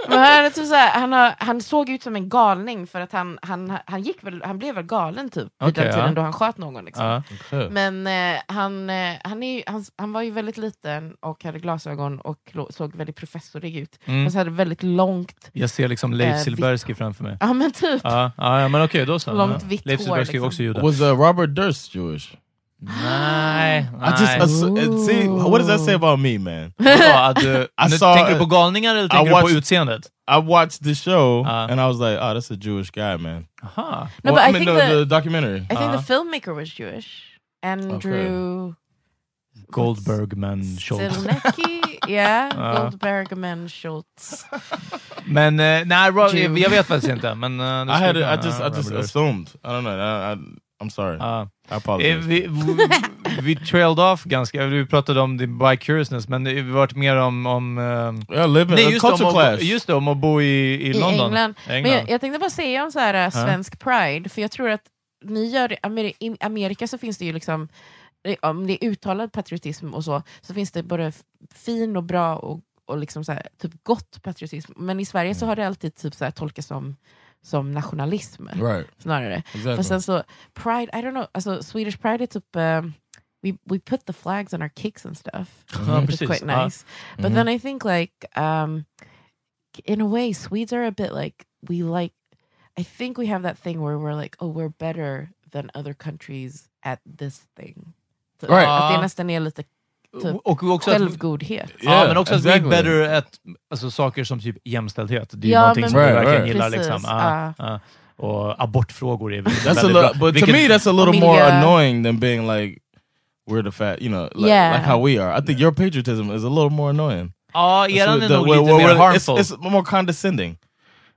[SPEAKER 2] Men han, är typ så här, han, har, han såg ut som en galning för att han, han, han, gick väl, han blev väl galen typ vid
[SPEAKER 3] Okej,
[SPEAKER 2] den tiden
[SPEAKER 3] ja.
[SPEAKER 2] då han sköt någon. Liksom.
[SPEAKER 3] Ja.
[SPEAKER 2] Men eh, han, eh, han, är, ju- han, han var ju väldigt liten och hade glasögon och lo- såg väldigt professorig ut.
[SPEAKER 3] Mm.
[SPEAKER 2] Fast hade väldigt långt,
[SPEAKER 3] Jag ser liksom
[SPEAKER 2] Eh,
[SPEAKER 3] Leif
[SPEAKER 2] vi-
[SPEAKER 3] Silbersky framför mig.
[SPEAKER 2] ja men typ.
[SPEAKER 3] Ja, ja, ja, men okej, då så.
[SPEAKER 2] Långt
[SPEAKER 3] ja.
[SPEAKER 2] vitt
[SPEAKER 3] Leif
[SPEAKER 2] hår, liksom.
[SPEAKER 3] Silbersky var också jude.
[SPEAKER 4] Was uh, Robert Durst Jewish?
[SPEAKER 3] Nej, nej.
[SPEAKER 4] I just alltså, eh, ass-
[SPEAKER 2] Ooh.
[SPEAKER 4] see what does that say about me, man?
[SPEAKER 2] <laughs>
[SPEAKER 3] Vadå, att
[SPEAKER 4] <laughs>
[SPEAKER 3] du,
[SPEAKER 4] I
[SPEAKER 3] nu,
[SPEAKER 4] saw-
[SPEAKER 3] tänker du på galningar eller tänker du
[SPEAKER 4] watched-
[SPEAKER 3] på utseendet?
[SPEAKER 4] I watched the show
[SPEAKER 3] Uh.
[SPEAKER 4] and I was like, oh, that's a Jewish guy, man.
[SPEAKER 3] Aha.
[SPEAKER 2] No,
[SPEAKER 4] Well,
[SPEAKER 2] but I
[SPEAKER 4] I mean,
[SPEAKER 2] think
[SPEAKER 4] the,
[SPEAKER 2] the-
[SPEAKER 4] the documentary.
[SPEAKER 2] I think
[SPEAKER 3] Ja.
[SPEAKER 2] the filmmaker was Jewish. Andrew
[SPEAKER 3] Goldbergman Schultz. <laughs>
[SPEAKER 2] Zelnecki, yeah,
[SPEAKER 3] Ja.
[SPEAKER 2] Goldbergman Schultz.
[SPEAKER 3] Men eh, nej, Rob,
[SPEAKER 2] Jew.
[SPEAKER 3] jag vet faktiskt inte. Men, eh, det
[SPEAKER 4] I
[SPEAKER 3] skulle
[SPEAKER 4] had, it, I
[SPEAKER 3] kunna,
[SPEAKER 4] just,
[SPEAKER 3] ja,
[SPEAKER 4] I just
[SPEAKER 3] Robert Durst.
[SPEAKER 4] assumed. I don't know. I, I, I'm sorry.
[SPEAKER 3] Ja.
[SPEAKER 4] I
[SPEAKER 3] Eh,
[SPEAKER 4] apologize.
[SPEAKER 3] Vi, vi, vi trailed off ganska, vi pratade om the bi-curiousness, men det har varit mer om... om ehm,
[SPEAKER 4] yeah, living
[SPEAKER 3] nej,
[SPEAKER 4] a
[SPEAKER 3] just, om
[SPEAKER 4] culture
[SPEAKER 3] att,
[SPEAKER 4] class.
[SPEAKER 3] just det, om att bo i, i,
[SPEAKER 2] I
[SPEAKER 3] London.
[SPEAKER 2] England. Men
[SPEAKER 3] England.
[SPEAKER 2] jag, jag tänkte bara säga om så här, äh, svensk pride, för jag tror att ni gör, Ameri- i Amerika så finns det ju liksom, eh, om det är uttalad patriotism och så, så finns det både f- fin och bra och, och liksom så här, typ gott patriotism. Men i Sverige så har det alltid typ så här, tolkats som, som nationalism
[SPEAKER 4] right.
[SPEAKER 2] snarare.
[SPEAKER 4] Exactly.
[SPEAKER 2] Fast sen så, pride, I don't know, alltså Swedish pride är typ eh, We, we put the flags on our kicks and stuff.
[SPEAKER 3] Ja,
[SPEAKER 2] It's
[SPEAKER 3] precis.
[SPEAKER 2] quite
[SPEAKER 3] Ja.
[SPEAKER 2] nice. Mm-hmm. But then I think like um in a way Swedes are a bit like we like I think we have that thing where we're like oh we're better than other countries at this thing. Så
[SPEAKER 4] Right.
[SPEAKER 2] Att det
[SPEAKER 3] Ja.
[SPEAKER 2] nästan är lite typ
[SPEAKER 3] Och också att,
[SPEAKER 2] självgodhet.
[SPEAKER 3] ja,
[SPEAKER 4] Yeah,
[SPEAKER 3] men också att
[SPEAKER 4] exactly.
[SPEAKER 3] vi är better at alltså, saker som typ jämställdhet. Det är
[SPEAKER 2] Ja,
[SPEAKER 3] ju någonting
[SPEAKER 2] men-
[SPEAKER 3] som vi
[SPEAKER 4] Right,
[SPEAKER 3] verkligen
[SPEAKER 4] right.
[SPEAKER 3] gillar.
[SPEAKER 2] Precis,
[SPEAKER 3] Liksom.
[SPEAKER 2] ja.
[SPEAKER 3] Ja, ja. Och abortfrågor är väl
[SPEAKER 4] That's
[SPEAKER 3] väldigt
[SPEAKER 4] a
[SPEAKER 3] bra.
[SPEAKER 4] little, but to
[SPEAKER 3] Vilket-
[SPEAKER 4] me, that's a little more
[SPEAKER 2] Media.
[SPEAKER 4] annoying than being like we're the fat, you know, like,
[SPEAKER 2] Yeah.
[SPEAKER 4] like how we are. I think your patriotism is a little more annoying.
[SPEAKER 3] ja, eran är
[SPEAKER 4] the-
[SPEAKER 3] nog
[SPEAKER 4] where-
[SPEAKER 3] lite
[SPEAKER 4] where-
[SPEAKER 3] mer
[SPEAKER 4] where- it's,
[SPEAKER 3] harmful.
[SPEAKER 4] it's more condescending.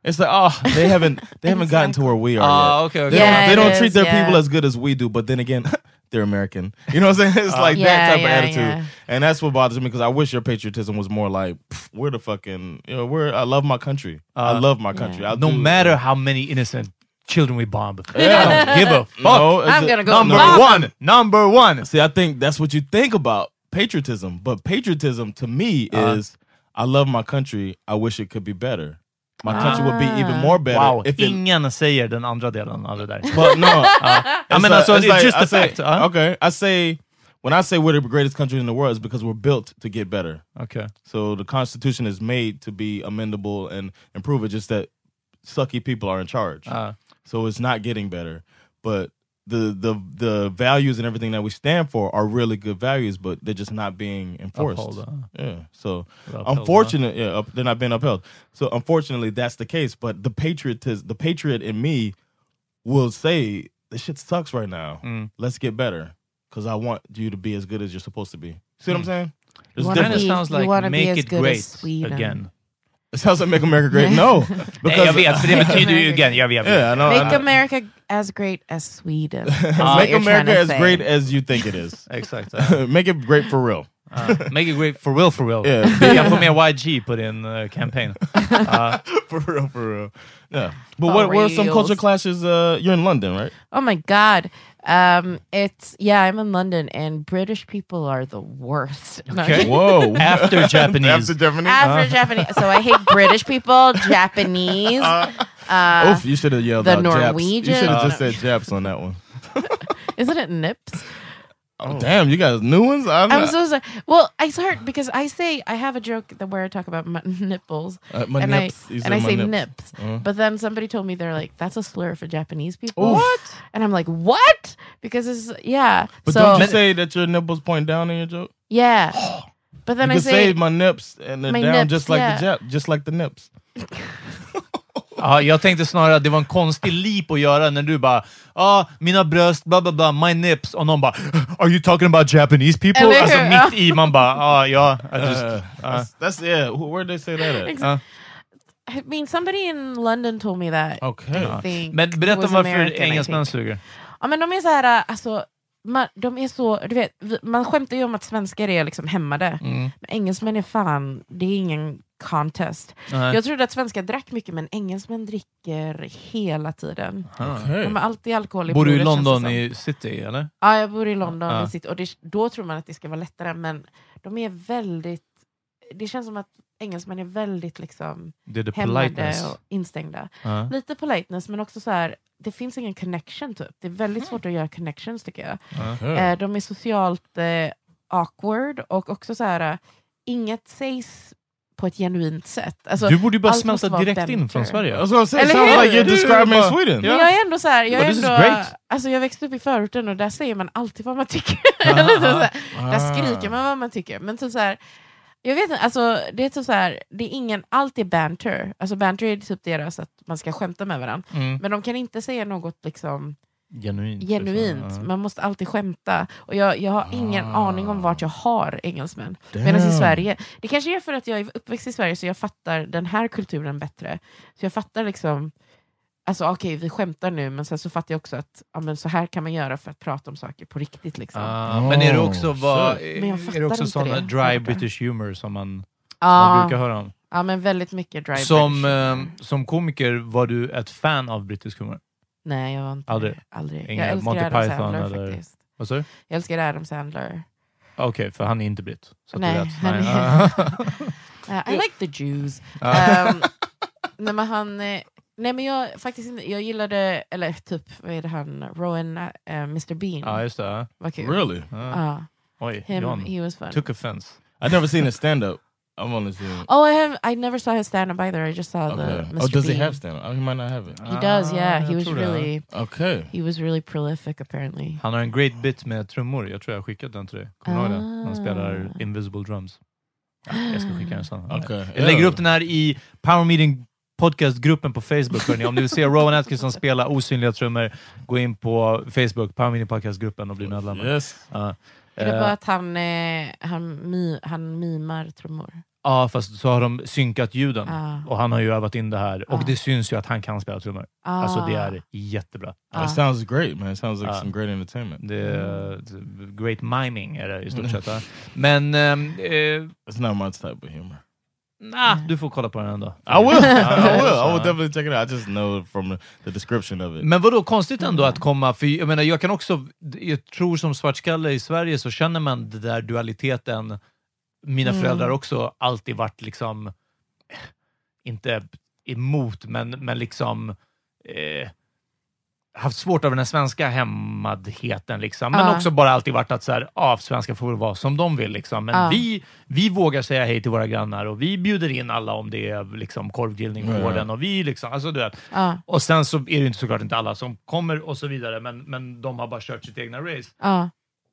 [SPEAKER 4] It's like, oh, they haven't
[SPEAKER 2] <laughs>
[SPEAKER 4] they haven't gotten to where we are.
[SPEAKER 3] Ah,
[SPEAKER 4] yet.
[SPEAKER 3] okay, okay.
[SPEAKER 4] They
[SPEAKER 2] Yeah,
[SPEAKER 4] don't, they
[SPEAKER 2] it
[SPEAKER 4] don't
[SPEAKER 2] is,
[SPEAKER 4] treat their
[SPEAKER 2] yeah.
[SPEAKER 4] people as good as we do. But then again, <laughs> they're American. You know what I'm saying? <laughs>
[SPEAKER 3] Oh.
[SPEAKER 4] It's like
[SPEAKER 2] Yeah,
[SPEAKER 4] that type
[SPEAKER 2] yeah,
[SPEAKER 4] of attitude,
[SPEAKER 2] yeah.
[SPEAKER 4] and that's what bothers me because I wish your patriotism was more like "Pff, we're the fucking. You know, we're I love my country. I love my country. I'll
[SPEAKER 3] Uh, No
[SPEAKER 4] do- <laughs>
[SPEAKER 3] matter how many innocent children we bomb, I
[SPEAKER 4] Mm. Yeah.
[SPEAKER 3] don't give a fuck.
[SPEAKER 4] No, it's
[SPEAKER 2] I'm
[SPEAKER 4] a-
[SPEAKER 2] gonna go
[SPEAKER 3] number
[SPEAKER 2] bomb
[SPEAKER 3] one, number one.
[SPEAKER 4] See, I think that's what you think about patriotism, but patriotism to me
[SPEAKER 3] Uh-huh.
[SPEAKER 4] is I love my country. I wish it could be better. My country would be even more better
[SPEAKER 3] Ah. Wow,
[SPEAKER 4] if <laughs> it.
[SPEAKER 3] ingen säger den andra delen av det
[SPEAKER 4] <laughs>
[SPEAKER 3] där.
[SPEAKER 4] But
[SPEAKER 3] <laughs>
[SPEAKER 4] no,
[SPEAKER 3] I mean,
[SPEAKER 4] like-
[SPEAKER 3] also, it's,
[SPEAKER 4] like
[SPEAKER 3] just
[SPEAKER 4] I
[SPEAKER 3] a
[SPEAKER 4] say,
[SPEAKER 3] fact. Uh,
[SPEAKER 4] Okay, I say when I say we're the greatest country in the world is because we're built to get better.
[SPEAKER 3] okay.
[SPEAKER 4] So the Constitution is made to be amendable and improve. It's just that sucky people are in charge.
[SPEAKER 3] Uh,
[SPEAKER 4] so it's not getting better. But the the the values and everything that we stand for are really good values, but they're just not being enforced.
[SPEAKER 3] Upheld, uh.
[SPEAKER 4] Yeah. So
[SPEAKER 3] Upheld,
[SPEAKER 4] unfortunate, yeah, up, they're not being upheld. So unfortunately, that's the case. But the patriotism, the patriot in me, will say this shit sucks right now.
[SPEAKER 3] Mm.
[SPEAKER 4] Let's get better because I want you to be as good as you're supposed to be. See what I'm saying? There's
[SPEAKER 2] You
[SPEAKER 4] a
[SPEAKER 2] wanna
[SPEAKER 3] kind
[SPEAKER 4] difference.
[SPEAKER 3] of
[SPEAKER 2] be-
[SPEAKER 3] sounds
[SPEAKER 2] you
[SPEAKER 3] like
[SPEAKER 2] wanna be
[SPEAKER 3] make
[SPEAKER 2] as
[SPEAKER 3] it
[SPEAKER 2] good as
[SPEAKER 3] great
[SPEAKER 2] Sweden.
[SPEAKER 3] again.
[SPEAKER 4] It sounds like make America great. No,
[SPEAKER 3] Nej, jag
[SPEAKER 4] because
[SPEAKER 3] vet, för
[SPEAKER 4] <laughs>
[SPEAKER 2] <laughs>
[SPEAKER 3] det betyder ju again. Jag vet.
[SPEAKER 4] yeah, I know. I
[SPEAKER 2] Make
[SPEAKER 4] know.
[SPEAKER 2] America as great as Sweden. is what
[SPEAKER 4] Make
[SPEAKER 2] you're trying to
[SPEAKER 4] America as
[SPEAKER 2] say.
[SPEAKER 4] great as you think it is. <laughs>
[SPEAKER 3] Exakt.
[SPEAKER 4] Make it great for real.
[SPEAKER 3] Uh, make it great for real, for real.
[SPEAKER 4] <laughs> Yeah.
[SPEAKER 3] Du kan få med YG på din uh, campaign. Uh,
[SPEAKER 4] <laughs> for real, for real. Yeah. But
[SPEAKER 2] For
[SPEAKER 4] what, what are some culture
[SPEAKER 2] reals.
[SPEAKER 4] clashes? Uh, you're in London, right?
[SPEAKER 2] Oh my god. Um, it's yeah, I'm in London and British people are the worst. No,
[SPEAKER 3] Okay.
[SPEAKER 4] <laughs> Whoa.
[SPEAKER 3] after
[SPEAKER 2] <laughs>
[SPEAKER 3] Japanese.
[SPEAKER 4] After Japanese.
[SPEAKER 2] After Japanese, so I hate British people, Japanese. Uh,
[SPEAKER 4] Oof, Oh, you should have yelled
[SPEAKER 2] the
[SPEAKER 4] out Japs. You
[SPEAKER 2] Norwegian-
[SPEAKER 4] should have just said Japs on <laughs> that one.
[SPEAKER 2] isn't it nips?
[SPEAKER 4] Oh, damn, you guys new ones? I'm,
[SPEAKER 2] I'm
[SPEAKER 4] not-
[SPEAKER 2] so sorry. Well, it's hard because I say I have a joke that where I talk about my <laughs> nipples
[SPEAKER 4] Uh, my
[SPEAKER 2] and
[SPEAKER 4] nips.
[SPEAKER 2] I
[SPEAKER 4] You said
[SPEAKER 2] and I
[SPEAKER 4] my
[SPEAKER 2] say
[SPEAKER 4] nips.
[SPEAKER 2] nips,
[SPEAKER 4] Uh-huh.
[SPEAKER 2] but then somebody told me they're like that's a slur for Japanese people.
[SPEAKER 4] Oof.
[SPEAKER 2] And I'm like, what? Because it's yeah.
[SPEAKER 4] But
[SPEAKER 2] so
[SPEAKER 4] don't you say that your nipples point down in your joke? <gasps>
[SPEAKER 2] yeah. But then
[SPEAKER 4] you
[SPEAKER 2] I
[SPEAKER 4] can
[SPEAKER 2] say,
[SPEAKER 4] say my nips and they're
[SPEAKER 2] My
[SPEAKER 4] down
[SPEAKER 2] nips,
[SPEAKER 4] just like the Jap,
[SPEAKER 2] yeah.
[SPEAKER 4] just like the nips.
[SPEAKER 3] Ja, jag tänkte snarare att det var en konstig leap att göra när du bara ah, mina bröst, bla bla bla, my nips” och någon bara “Are you talking about Japanese
[SPEAKER 2] Eller
[SPEAKER 3] people?”
[SPEAKER 2] hur?
[SPEAKER 3] Alltså
[SPEAKER 2] Ja.
[SPEAKER 3] mitt i, man bara ah, ja, I just,
[SPEAKER 4] Uh,
[SPEAKER 3] uh,
[SPEAKER 4] that's, that's yeah. wh- Where'd they say that at?
[SPEAKER 2] Ex-
[SPEAKER 3] uh.
[SPEAKER 2] I mean, somebody in London told me that.
[SPEAKER 4] Okay.
[SPEAKER 2] I think
[SPEAKER 3] Men berätta
[SPEAKER 2] was
[SPEAKER 3] varför
[SPEAKER 2] American, I
[SPEAKER 3] engelsmän
[SPEAKER 2] think.
[SPEAKER 3] suger.
[SPEAKER 2] Ja, men de är så här, alltså, man, de är så, du
[SPEAKER 3] Mm.
[SPEAKER 2] vet, vi- man skämtar ju om att svenskar är liksom hämmade. Men engelsmän är fan, det är ingen contest.
[SPEAKER 3] Nej.
[SPEAKER 2] Jag trodde att svenskar drack mycket, men engelsmän dricker hela tiden.
[SPEAKER 3] Aha. Okej.
[SPEAKER 2] De har alltid alkohol i
[SPEAKER 3] Bor du i
[SPEAKER 2] blodet, känns det
[SPEAKER 3] London
[SPEAKER 2] som.
[SPEAKER 3] i city, eller?
[SPEAKER 2] Ja, jag bor i London.
[SPEAKER 3] Ja.
[SPEAKER 2] i city, och det, då tror man att det ska vara lättare, men de är väldigt... Det känns som att engelsmän är väldigt liksom
[SPEAKER 3] Det är the
[SPEAKER 2] hämmade
[SPEAKER 3] politeness.
[SPEAKER 2] och instängda.
[SPEAKER 3] Ja.
[SPEAKER 2] Lite politeness, men också så här, det finns ingen connection. typ. Det är väldigt svårt att göra connections, tycker jag.
[SPEAKER 3] Aha.
[SPEAKER 2] Eh, de är socialt eh, awkward och också så här, eh, inget sägs på ett genuint sätt. Alltså,
[SPEAKER 3] Du borde ju bara
[SPEAKER 2] allt
[SPEAKER 3] smälta
[SPEAKER 2] måste vara
[SPEAKER 3] direkt
[SPEAKER 2] demper.
[SPEAKER 3] in från Sverige.
[SPEAKER 4] That's what I'm saying.
[SPEAKER 2] Eller
[SPEAKER 4] Sounds
[SPEAKER 2] hur?
[SPEAKER 4] like you're
[SPEAKER 2] Du-
[SPEAKER 4] describing
[SPEAKER 3] bara-
[SPEAKER 4] Sweden.
[SPEAKER 2] Men jag är ändå så här, jag,
[SPEAKER 3] But
[SPEAKER 2] är
[SPEAKER 3] this is
[SPEAKER 2] ändå,
[SPEAKER 3] great.
[SPEAKER 2] alltså jag växte upp i förorten och där säger man alltid vad
[SPEAKER 3] <laughs>
[SPEAKER 2] man tycker. Eller typ så här,
[SPEAKER 3] Ah.
[SPEAKER 2] där skriker man vad man tycker. Men typ så här, jag vet inte, alltså, det är typ så här, det är ingen, allt är banter. Alltså banter är typ deras att man ska skämta med varandra.
[SPEAKER 3] Mm.
[SPEAKER 2] Men de kan inte säga något liksom
[SPEAKER 3] Genuint. liksom.
[SPEAKER 2] genuint.
[SPEAKER 3] Ja. Ah.
[SPEAKER 2] Man måste alltid skämta. Och jag, jag har ingen aning om vart jag har engelsmän. Medan i Sverige, det kanske är för att jag är uppväxt i Sverige så jag fattar den här kulturen bättre. Så jag fattar liksom, alltså okej vi skämtar nu men sen så fattar jag också att ja, men så här kan man göra för att prata om saker på riktigt. Liksom.
[SPEAKER 3] Ah, men är det också, vad,
[SPEAKER 2] shit. Men jag
[SPEAKER 3] är
[SPEAKER 2] fattar
[SPEAKER 3] det också
[SPEAKER 2] inte
[SPEAKER 3] sån
[SPEAKER 2] det.
[SPEAKER 3] dry British humor som man, som man
[SPEAKER 2] ja,
[SPEAKER 3] brukar höra om?
[SPEAKER 2] ja men väldigt mycket dry
[SPEAKER 3] Som,
[SPEAKER 2] British.
[SPEAKER 3] eh, som komiker, var du ett fan av brittisk humor?
[SPEAKER 2] Nej jag var inte
[SPEAKER 3] aldrig.
[SPEAKER 2] aldrig.
[SPEAKER 3] Inga
[SPEAKER 2] Jag älskar
[SPEAKER 3] Monty
[SPEAKER 2] Adam
[SPEAKER 3] Python
[SPEAKER 2] Sandler
[SPEAKER 3] eller-
[SPEAKER 2] faktiskt.
[SPEAKER 3] Vad sa du?
[SPEAKER 2] Jag älskar Adam Sandler.
[SPEAKER 3] Okej, för han är inte britt. Så att
[SPEAKER 2] Nej,
[SPEAKER 3] du vet. <laughs>
[SPEAKER 2] han är- Eh, I like the Jews.
[SPEAKER 3] Ja.
[SPEAKER 2] Ehm, nej, men han, eh, nej men jag faktiskt inte, jag gillade, eller typ, vad är det han, Rowan, eh, Mr Bean.
[SPEAKER 3] Ja, just det. ja.
[SPEAKER 2] Vad kul.
[SPEAKER 4] Really?
[SPEAKER 3] Ja.
[SPEAKER 2] Ja.
[SPEAKER 3] Oj,
[SPEAKER 2] Him, he
[SPEAKER 3] John.
[SPEAKER 2] was fun.
[SPEAKER 3] Took offense.
[SPEAKER 4] I've never seen a stand up. I've only seen.
[SPEAKER 2] Oh, I have. I never saw his stand-up either. I just saw the
[SPEAKER 4] Okay.
[SPEAKER 2] Mr.
[SPEAKER 4] Oh, does
[SPEAKER 2] Bean.
[SPEAKER 4] he have Ah, stand up? Oh, he might not have it. Ah,
[SPEAKER 2] He does. Yeah, he
[SPEAKER 3] jag
[SPEAKER 2] was
[SPEAKER 3] tror det.
[SPEAKER 2] really,
[SPEAKER 4] Okay.
[SPEAKER 2] he was really prolific apparently.
[SPEAKER 3] Han har en great bit med trummor. Jag tror jag har skickat den till dig. Kommer du ihåg den? Han spelar
[SPEAKER 2] Ah.
[SPEAKER 3] Invisible Drums. Ja, jag ska skicka den
[SPEAKER 4] <gasps>
[SPEAKER 3] sen.
[SPEAKER 4] Okay.
[SPEAKER 3] Jag lägger upp den här i Power Meeting Podcast-gruppen på Facebook. Hörrni. Om du vill se Rowan Atkinson spela osynliga trummor, gå in på Facebook, Power Meeting Podcast-gruppen och bli medlem.
[SPEAKER 4] Yes.
[SPEAKER 3] Ja.
[SPEAKER 2] Är det
[SPEAKER 3] Eh,
[SPEAKER 2] bara att han, eh, han, mi, han mimar trummor?
[SPEAKER 3] Ja, fast så har de synkat ljuden.
[SPEAKER 2] Ah.
[SPEAKER 3] Och han har ju övat in det här. Och
[SPEAKER 2] Ah.
[SPEAKER 3] det syns ju att han kan spela trummor.
[SPEAKER 2] Ah.
[SPEAKER 3] Alltså det är jättebra.
[SPEAKER 2] Ah.
[SPEAKER 4] It sounds great, man. It sounds like
[SPEAKER 3] Uh,
[SPEAKER 4] some great entertainment.
[SPEAKER 3] Det är
[SPEAKER 2] Mm.
[SPEAKER 3] great miming är det i stort sett. va? Men... ehm, eh,
[SPEAKER 4] It's not my type of
[SPEAKER 2] <laughs>
[SPEAKER 4] humor.
[SPEAKER 3] nah,
[SPEAKER 2] Mm.
[SPEAKER 3] du får kolla på den ändå.
[SPEAKER 4] I will. I
[SPEAKER 3] Ja,
[SPEAKER 4] will. I will
[SPEAKER 3] så.
[SPEAKER 4] definitely check it out. I just know from the description of it.
[SPEAKER 3] Men vadå, konstigt ändå att komma, för jag menar jag kan också, jag tror som svartskalle i Sverige så känner man den där dualiteten, mina
[SPEAKER 2] Mm.
[SPEAKER 3] föräldrar också alltid varit liksom, eh, inte emot, men, men liksom eh, haft svårt av den här svenska hemmadheten, liksom. men
[SPEAKER 2] Ja.
[SPEAKER 3] också bara alltid varit att så här, ah, svenskar får väl vara som de vill. Liksom. Men
[SPEAKER 2] Ja.
[SPEAKER 3] vi, vi vågar säga hej till våra grannar och vi bjuder in alla om det är liksom, korvgrillning på
[SPEAKER 4] Ja, ja.
[SPEAKER 3] gården. Och vi, liksom, alltså, du vet,
[SPEAKER 2] Ja,
[SPEAKER 3] och sen så är det ju inte såklart inte alla som kommer och så vidare, men, men de har bara kört sitt egna race.
[SPEAKER 2] ja.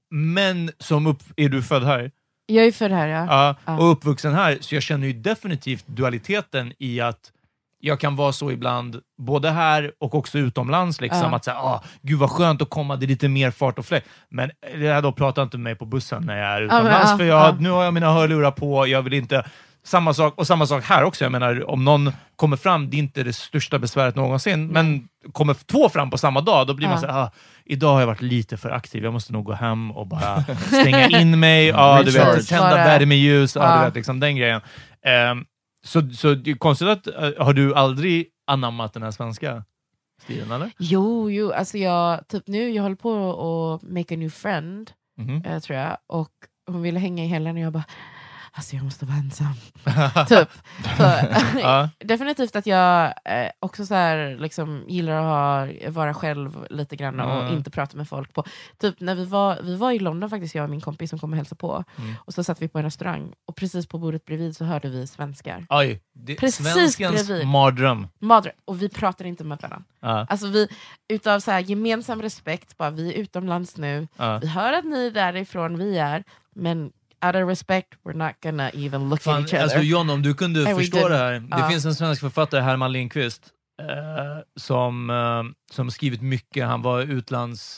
[SPEAKER 3] Men som upp, är du född här
[SPEAKER 2] Jag är född här ja.
[SPEAKER 3] Ja,
[SPEAKER 2] Ja.
[SPEAKER 3] och uppvuxen här, så jag känner ju definitivt dualiteten i att jag kan vara så ibland, både här och också utomlands, liksom,
[SPEAKER 2] Ja.
[SPEAKER 3] att säga, ah, gud vad skönt att komma, det är lite mer fart och fläkt. Men det här då pratar inte med mig på bussen när jag är
[SPEAKER 2] men,
[SPEAKER 3] utomlands,
[SPEAKER 2] ja,
[SPEAKER 3] för jag,
[SPEAKER 2] ja.
[SPEAKER 3] nu har jag mina hörlurar på, jag vill inte... Samma sak, och samma sak här också. Jag menar, om någon kommer fram, det är inte det största besväret någonsin, men kommer två fram på samma dag, då blir man
[SPEAKER 2] Mm. Ja.
[SPEAKER 3] så här, ah, idag har jag varit lite för aktiv, jag måste nog gå hem och bara stänga in mig, ja, du vet,
[SPEAKER 2] Recharge.
[SPEAKER 3] tända
[SPEAKER 2] Bara-
[SPEAKER 3] värmeljus, ja. du
[SPEAKER 2] Ja.
[SPEAKER 3] vet, liksom den grejen. Ehm, så, så det är konstigt att, eh, har du aldrig anammat den här svenska stilen, eller?
[SPEAKER 2] Jo, jo, alltså jag, typ nu, jag håller på att make a new friend.
[SPEAKER 3] Mhm.
[SPEAKER 2] eh, tror jag. Och hon ville hänga i helgen och jag bara, alltså jag måste vara ensam.
[SPEAKER 3] <laughs>
[SPEAKER 2] typ. Så,
[SPEAKER 3] Ja.
[SPEAKER 2] <laughs> definitivt att jag eh, också så här, liksom, gillar att ha, vara själv lite grann och
[SPEAKER 3] Mm.
[SPEAKER 2] inte prata med folk. På. Typ när vi var, vi var i London faktiskt, jag och min kompis som kom och hälsade på.
[SPEAKER 3] Mm.
[SPEAKER 2] Och så satt vi på en restaurang och precis på bordet bredvid så hörde vi svenskar.
[SPEAKER 3] Oj, det,
[SPEAKER 2] Precis
[SPEAKER 3] svenskens
[SPEAKER 2] bredvid.
[SPEAKER 3] mardröm.
[SPEAKER 2] Madre, och vi pratar inte med varandra.
[SPEAKER 3] Ja,
[SPEAKER 2] Alltså vi, utav så här, gemensam respekt, bara vi är utomlands nu,
[SPEAKER 3] ja.
[SPEAKER 2] vi hör att ni är därifrån vi är, men out of respect we're not gonna even look at
[SPEAKER 3] Fan,
[SPEAKER 2] each other.
[SPEAKER 3] alltså John, om du kunde
[SPEAKER 2] we
[SPEAKER 3] förstå
[SPEAKER 2] didn't.
[SPEAKER 3] det här. Det
[SPEAKER 2] Ja.
[SPEAKER 3] finns en svensk författare, Herman Lindqvist, eh, som, eh, som skrivit mycket. Han var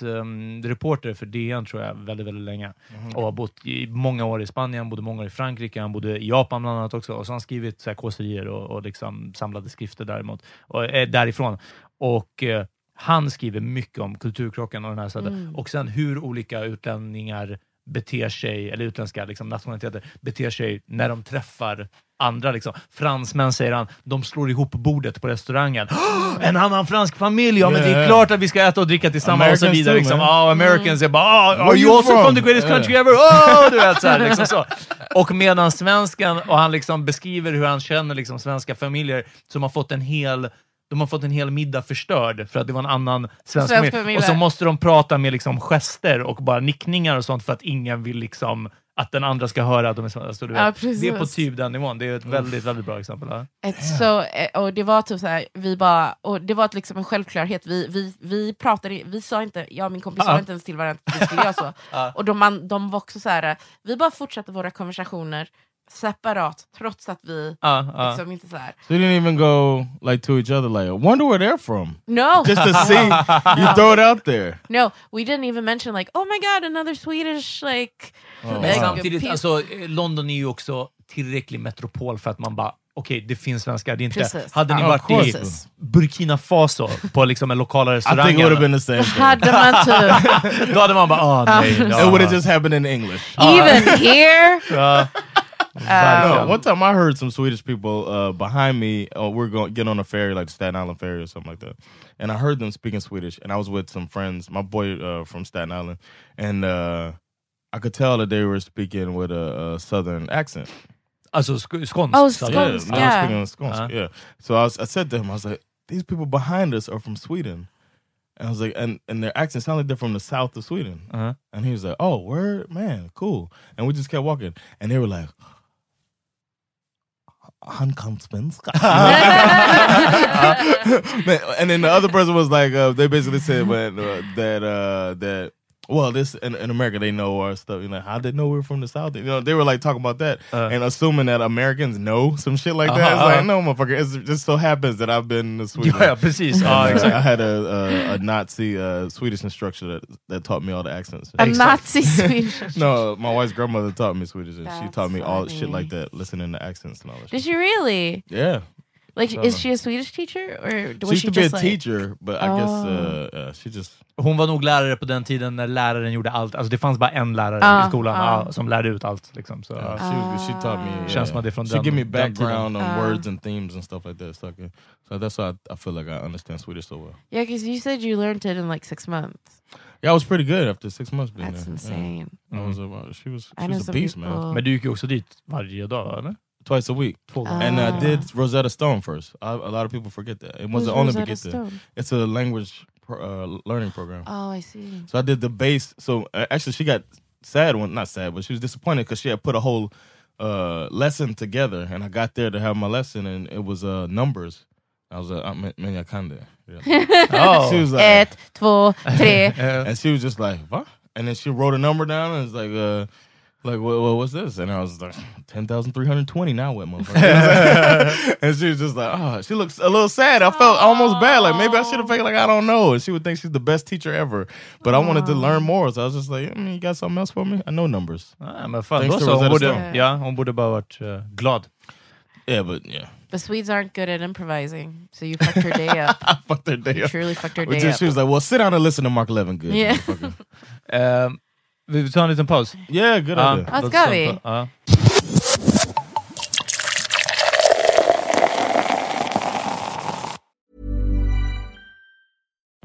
[SPEAKER 3] utlandsreporter för DN, tror jag, väldigt, väldigt länge.
[SPEAKER 2] Mhm.
[SPEAKER 3] Och har bott i många år i Spanien, bodde många år i Frankrike, han bodde i Japan bland annat också. Och så har han skrivit så här kåserier och, och liksom samlade skrifter däremot, och, eh, därifrån. Och eh,
[SPEAKER 2] Mm.
[SPEAKER 3] han skriver mycket om kulturkrocken och den här sidan. Och sen hur olika utlänningar beter sig, eller utländska liksom, nationaliteter, beter sig när de träffar andra. Liksom. Fransmän, säger han, de slår ihop bordet på restaurangen. <gasps> en annan fransk familj! Ja, men det är
[SPEAKER 4] Yeah.
[SPEAKER 3] klart att vi ska äta och dricka tillsammans och
[SPEAKER 4] Americans
[SPEAKER 3] så vidare.
[SPEAKER 4] too,
[SPEAKER 3] liksom.
[SPEAKER 4] man.
[SPEAKER 3] oh, Americans är bara oh,
[SPEAKER 4] Where
[SPEAKER 3] “Are you
[SPEAKER 4] you
[SPEAKER 3] also
[SPEAKER 4] from?"
[SPEAKER 3] from, the greatest country
[SPEAKER 4] Yeah.
[SPEAKER 3] ever?” oh, du vet, så här, liksom <laughs> så. Och medan svensken, och han liksom beskriver hur han känner liksom, svenska familjer som har fått en hel de har fått en hel middag förstörd för att det var en annan svensk,
[SPEAKER 2] Svensk
[SPEAKER 3] familj.
[SPEAKER 2] familj.
[SPEAKER 3] Och så måste de prata med liksom gester och bara nickningar och sånt för att ingen vill liksom att den andra ska höra att de är svenskar. Alltså, du vet.
[SPEAKER 2] Ja,
[SPEAKER 3] det är på
[SPEAKER 2] precis.
[SPEAKER 3] typ den nivån. Det är ett väldigt, väldigt bra exempel. Ja.
[SPEAKER 2] Ett så, eh, och det var typ så här, vi bara, och det var liksom en självklarhet, vi, vi, vi pratade, vi sa inte, jag och min kompis
[SPEAKER 3] Ja.
[SPEAKER 2] sa inte ens till varandra att vi skulle göra så.
[SPEAKER 3] <laughs> Ja.
[SPEAKER 2] Och de, an- de var också så här, eh, vi bara fortsatte våra konversationer separat, trots att vi
[SPEAKER 4] Ja, ja.
[SPEAKER 2] liksom inte så här.
[SPEAKER 4] So you didn't even go like to each other like, wonder where they're from.
[SPEAKER 2] No!
[SPEAKER 4] Just to see,
[SPEAKER 2] <laughs>
[SPEAKER 4] you throw it out there.
[SPEAKER 2] No, we didn't even mention like, oh my god, another Swedish like...
[SPEAKER 4] Oh,
[SPEAKER 3] Men
[SPEAKER 2] Liksom.
[SPEAKER 4] wow.
[SPEAKER 3] samtidigt,
[SPEAKER 2] Pe-
[SPEAKER 3] alltså, eh, London är ju också tillräcklig metropol för att man bara Okej, det finns svenskar. Det är inte,
[SPEAKER 2] Precis.
[SPEAKER 3] Hade ni
[SPEAKER 2] Ja,
[SPEAKER 3] varit i
[SPEAKER 2] precis.
[SPEAKER 3] Burkina Faso på liksom en lokala restaurang
[SPEAKER 4] it would've
[SPEAKER 3] eller-
[SPEAKER 4] been the
[SPEAKER 2] <laughs>
[SPEAKER 4] same thing.
[SPEAKER 3] <laughs>
[SPEAKER 2] Hade man typ...
[SPEAKER 3] Då hade man bara, ah nej.
[SPEAKER 4] It
[SPEAKER 3] ja."
[SPEAKER 4] would have just happened in English.
[SPEAKER 2] Even here?
[SPEAKER 3] Ja.
[SPEAKER 4] No,
[SPEAKER 3] Verkligen.
[SPEAKER 4] one time I heard some Swedish people uh, behind me. Uh, we're going get on a ferry, like Staten Island ferry or something like that. And I heard them speaking Swedish. And I was with some friends, my boy uh, from Staten Island, and uh, I could tell that they were speaking with a, a southern accent.
[SPEAKER 3] Alltså sk- skånsk.
[SPEAKER 4] Oh,
[SPEAKER 3] sa du?
[SPEAKER 4] skånsk, Yeah, yeah. speaking skånsk, yeah. So I, was, I said to him, I was like, "These people behind us are from Sweden." And I was like, and, and their accent sounded like they're from the south of Sweden. And he was like, oh, word, man, cool. And we just kept walking. And they were like, Han kan svenska.
[SPEAKER 3] <laughs>
[SPEAKER 4] <laughs> Man, and then the other person was like, uh, they basically said when, uh, that uh, that well, this in, in America they know our stuff. You know, how they know we're from the south? You know, they were like talking about that and assuming that Americans know some shit like that.
[SPEAKER 3] Uh-huh,
[SPEAKER 4] It's like,
[SPEAKER 3] Uh. uh-huh.
[SPEAKER 4] no, motherfucker. It's, it just so happens that I've been to Sweden.
[SPEAKER 3] <laughs> Yeah, precies.
[SPEAKER 4] And,
[SPEAKER 3] Ah,
[SPEAKER 4] uh,
[SPEAKER 3] exactly.
[SPEAKER 4] I had a, a, a Nazi uh, Swedish instructor that that taught me all the accents. <laughs>
[SPEAKER 2] A Nazi Swedish
[SPEAKER 4] no, my wife's grandmother taught me Swedish, and she
[SPEAKER 2] That's
[SPEAKER 4] taught me all shit
[SPEAKER 2] funny.
[SPEAKER 4] like that, listening to accents and all that. Shit.
[SPEAKER 2] Did she really?
[SPEAKER 4] Yeah.
[SPEAKER 2] Like,
[SPEAKER 4] So-
[SPEAKER 2] is she a Swedish teacher? Or
[SPEAKER 4] She
[SPEAKER 2] was
[SPEAKER 4] used
[SPEAKER 2] she
[SPEAKER 4] to be a
[SPEAKER 2] just like...
[SPEAKER 4] teacher, but I guess
[SPEAKER 2] Oh.
[SPEAKER 4] uh, uh, she just
[SPEAKER 3] Hon var nog lärare på den tiden när läraren gjorde allt. Alltså det fanns bara en lärare
[SPEAKER 4] Ah,
[SPEAKER 3] i skolan
[SPEAKER 4] ah.
[SPEAKER 3] ja, som lärde ut allt. Liksom. Så,
[SPEAKER 4] uh, she, was- she taught me. Yeah.
[SPEAKER 3] Känns som att det är från
[SPEAKER 4] she
[SPEAKER 3] den-
[SPEAKER 4] give me
[SPEAKER 3] den tiden.
[SPEAKER 4] background on
[SPEAKER 2] Ah.
[SPEAKER 4] words and themes and stuff like that. So, I can- so that's why I, I feel like I understand Swedish so well.
[SPEAKER 2] Yeah, because you said you learned it in like six months.
[SPEAKER 4] Yeah, I was pretty good after six months being
[SPEAKER 2] That's
[SPEAKER 4] there.
[SPEAKER 2] insane.
[SPEAKER 4] Yeah. I was a, she was,
[SPEAKER 2] I
[SPEAKER 4] she
[SPEAKER 2] know
[SPEAKER 4] was a
[SPEAKER 2] some
[SPEAKER 4] beast,
[SPEAKER 2] people-
[SPEAKER 4] man.
[SPEAKER 3] Men du gick ju också dit varje dag, eller?
[SPEAKER 4] Twice a week. And I did Rosetta Stone first. I, a lot of people forget that. It wasn't only
[SPEAKER 2] Ah.
[SPEAKER 4] Rosetta
[SPEAKER 2] Who's Rosetta Stone?
[SPEAKER 4] It's a language pro, uh, learning program.
[SPEAKER 2] Oh, I see.
[SPEAKER 4] So I did the bass. So uh, actually, she got sad when not sad, but she was disappointed because she had put a whole uh, lesson together, and I got there to have my lesson, and it was uh, numbers. I was like, uh, man, man, I kinda.
[SPEAKER 2] <laughs> Oh. Ett, två, tre.
[SPEAKER 3] Eh,
[SPEAKER 4] <laughs> and she was just like, what? And then she wrote a number down, and it's like, uh, like, well, well, what's this? And I was like, ten thousand three hundred twenty. Now what, motherfucker? <laughs> and she was just like, oh, she looks a little sad. I felt almost bad. Like maybe I should have faked like I don't know. And she would think she's the best teacher ever. But I wanted to learn more, so I was just like, mm, you got something else for me? I know numbers.
[SPEAKER 3] Ah, men fan,
[SPEAKER 4] Thanks
[SPEAKER 3] då
[SPEAKER 4] to
[SPEAKER 3] så. Hon
[SPEAKER 4] Rosetta
[SPEAKER 3] borde,
[SPEAKER 4] Stone.
[SPEAKER 3] ja, hon borde bara varit eh, glad.
[SPEAKER 4] Yeah, but yeah. <laughs>
[SPEAKER 2] The Swedes aren't good at improvising, so you fucked her day up. I
[SPEAKER 4] fucked her day
[SPEAKER 2] you
[SPEAKER 4] up.
[SPEAKER 2] truly fucked her
[SPEAKER 4] Which
[SPEAKER 2] day
[SPEAKER 4] is,
[SPEAKER 2] up.
[SPEAKER 4] she was like, well, sit down and listen to Mark Levin. Good.
[SPEAKER 2] Yeah.
[SPEAKER 3] Eh, vi tar en liten paus.
[SPEAKER 4] <laughs> Yeah, good
[SPEAKER 3] Ja,
[SPEAKER 4] idea.
[SPEAKER 2] Ja,
[SPEAKER 3] låt
[SPEAKER 2] ska
[SPEAKER 3] oss
[SPEAKER 2] vi?
[SPEAKER 3] ta- ja.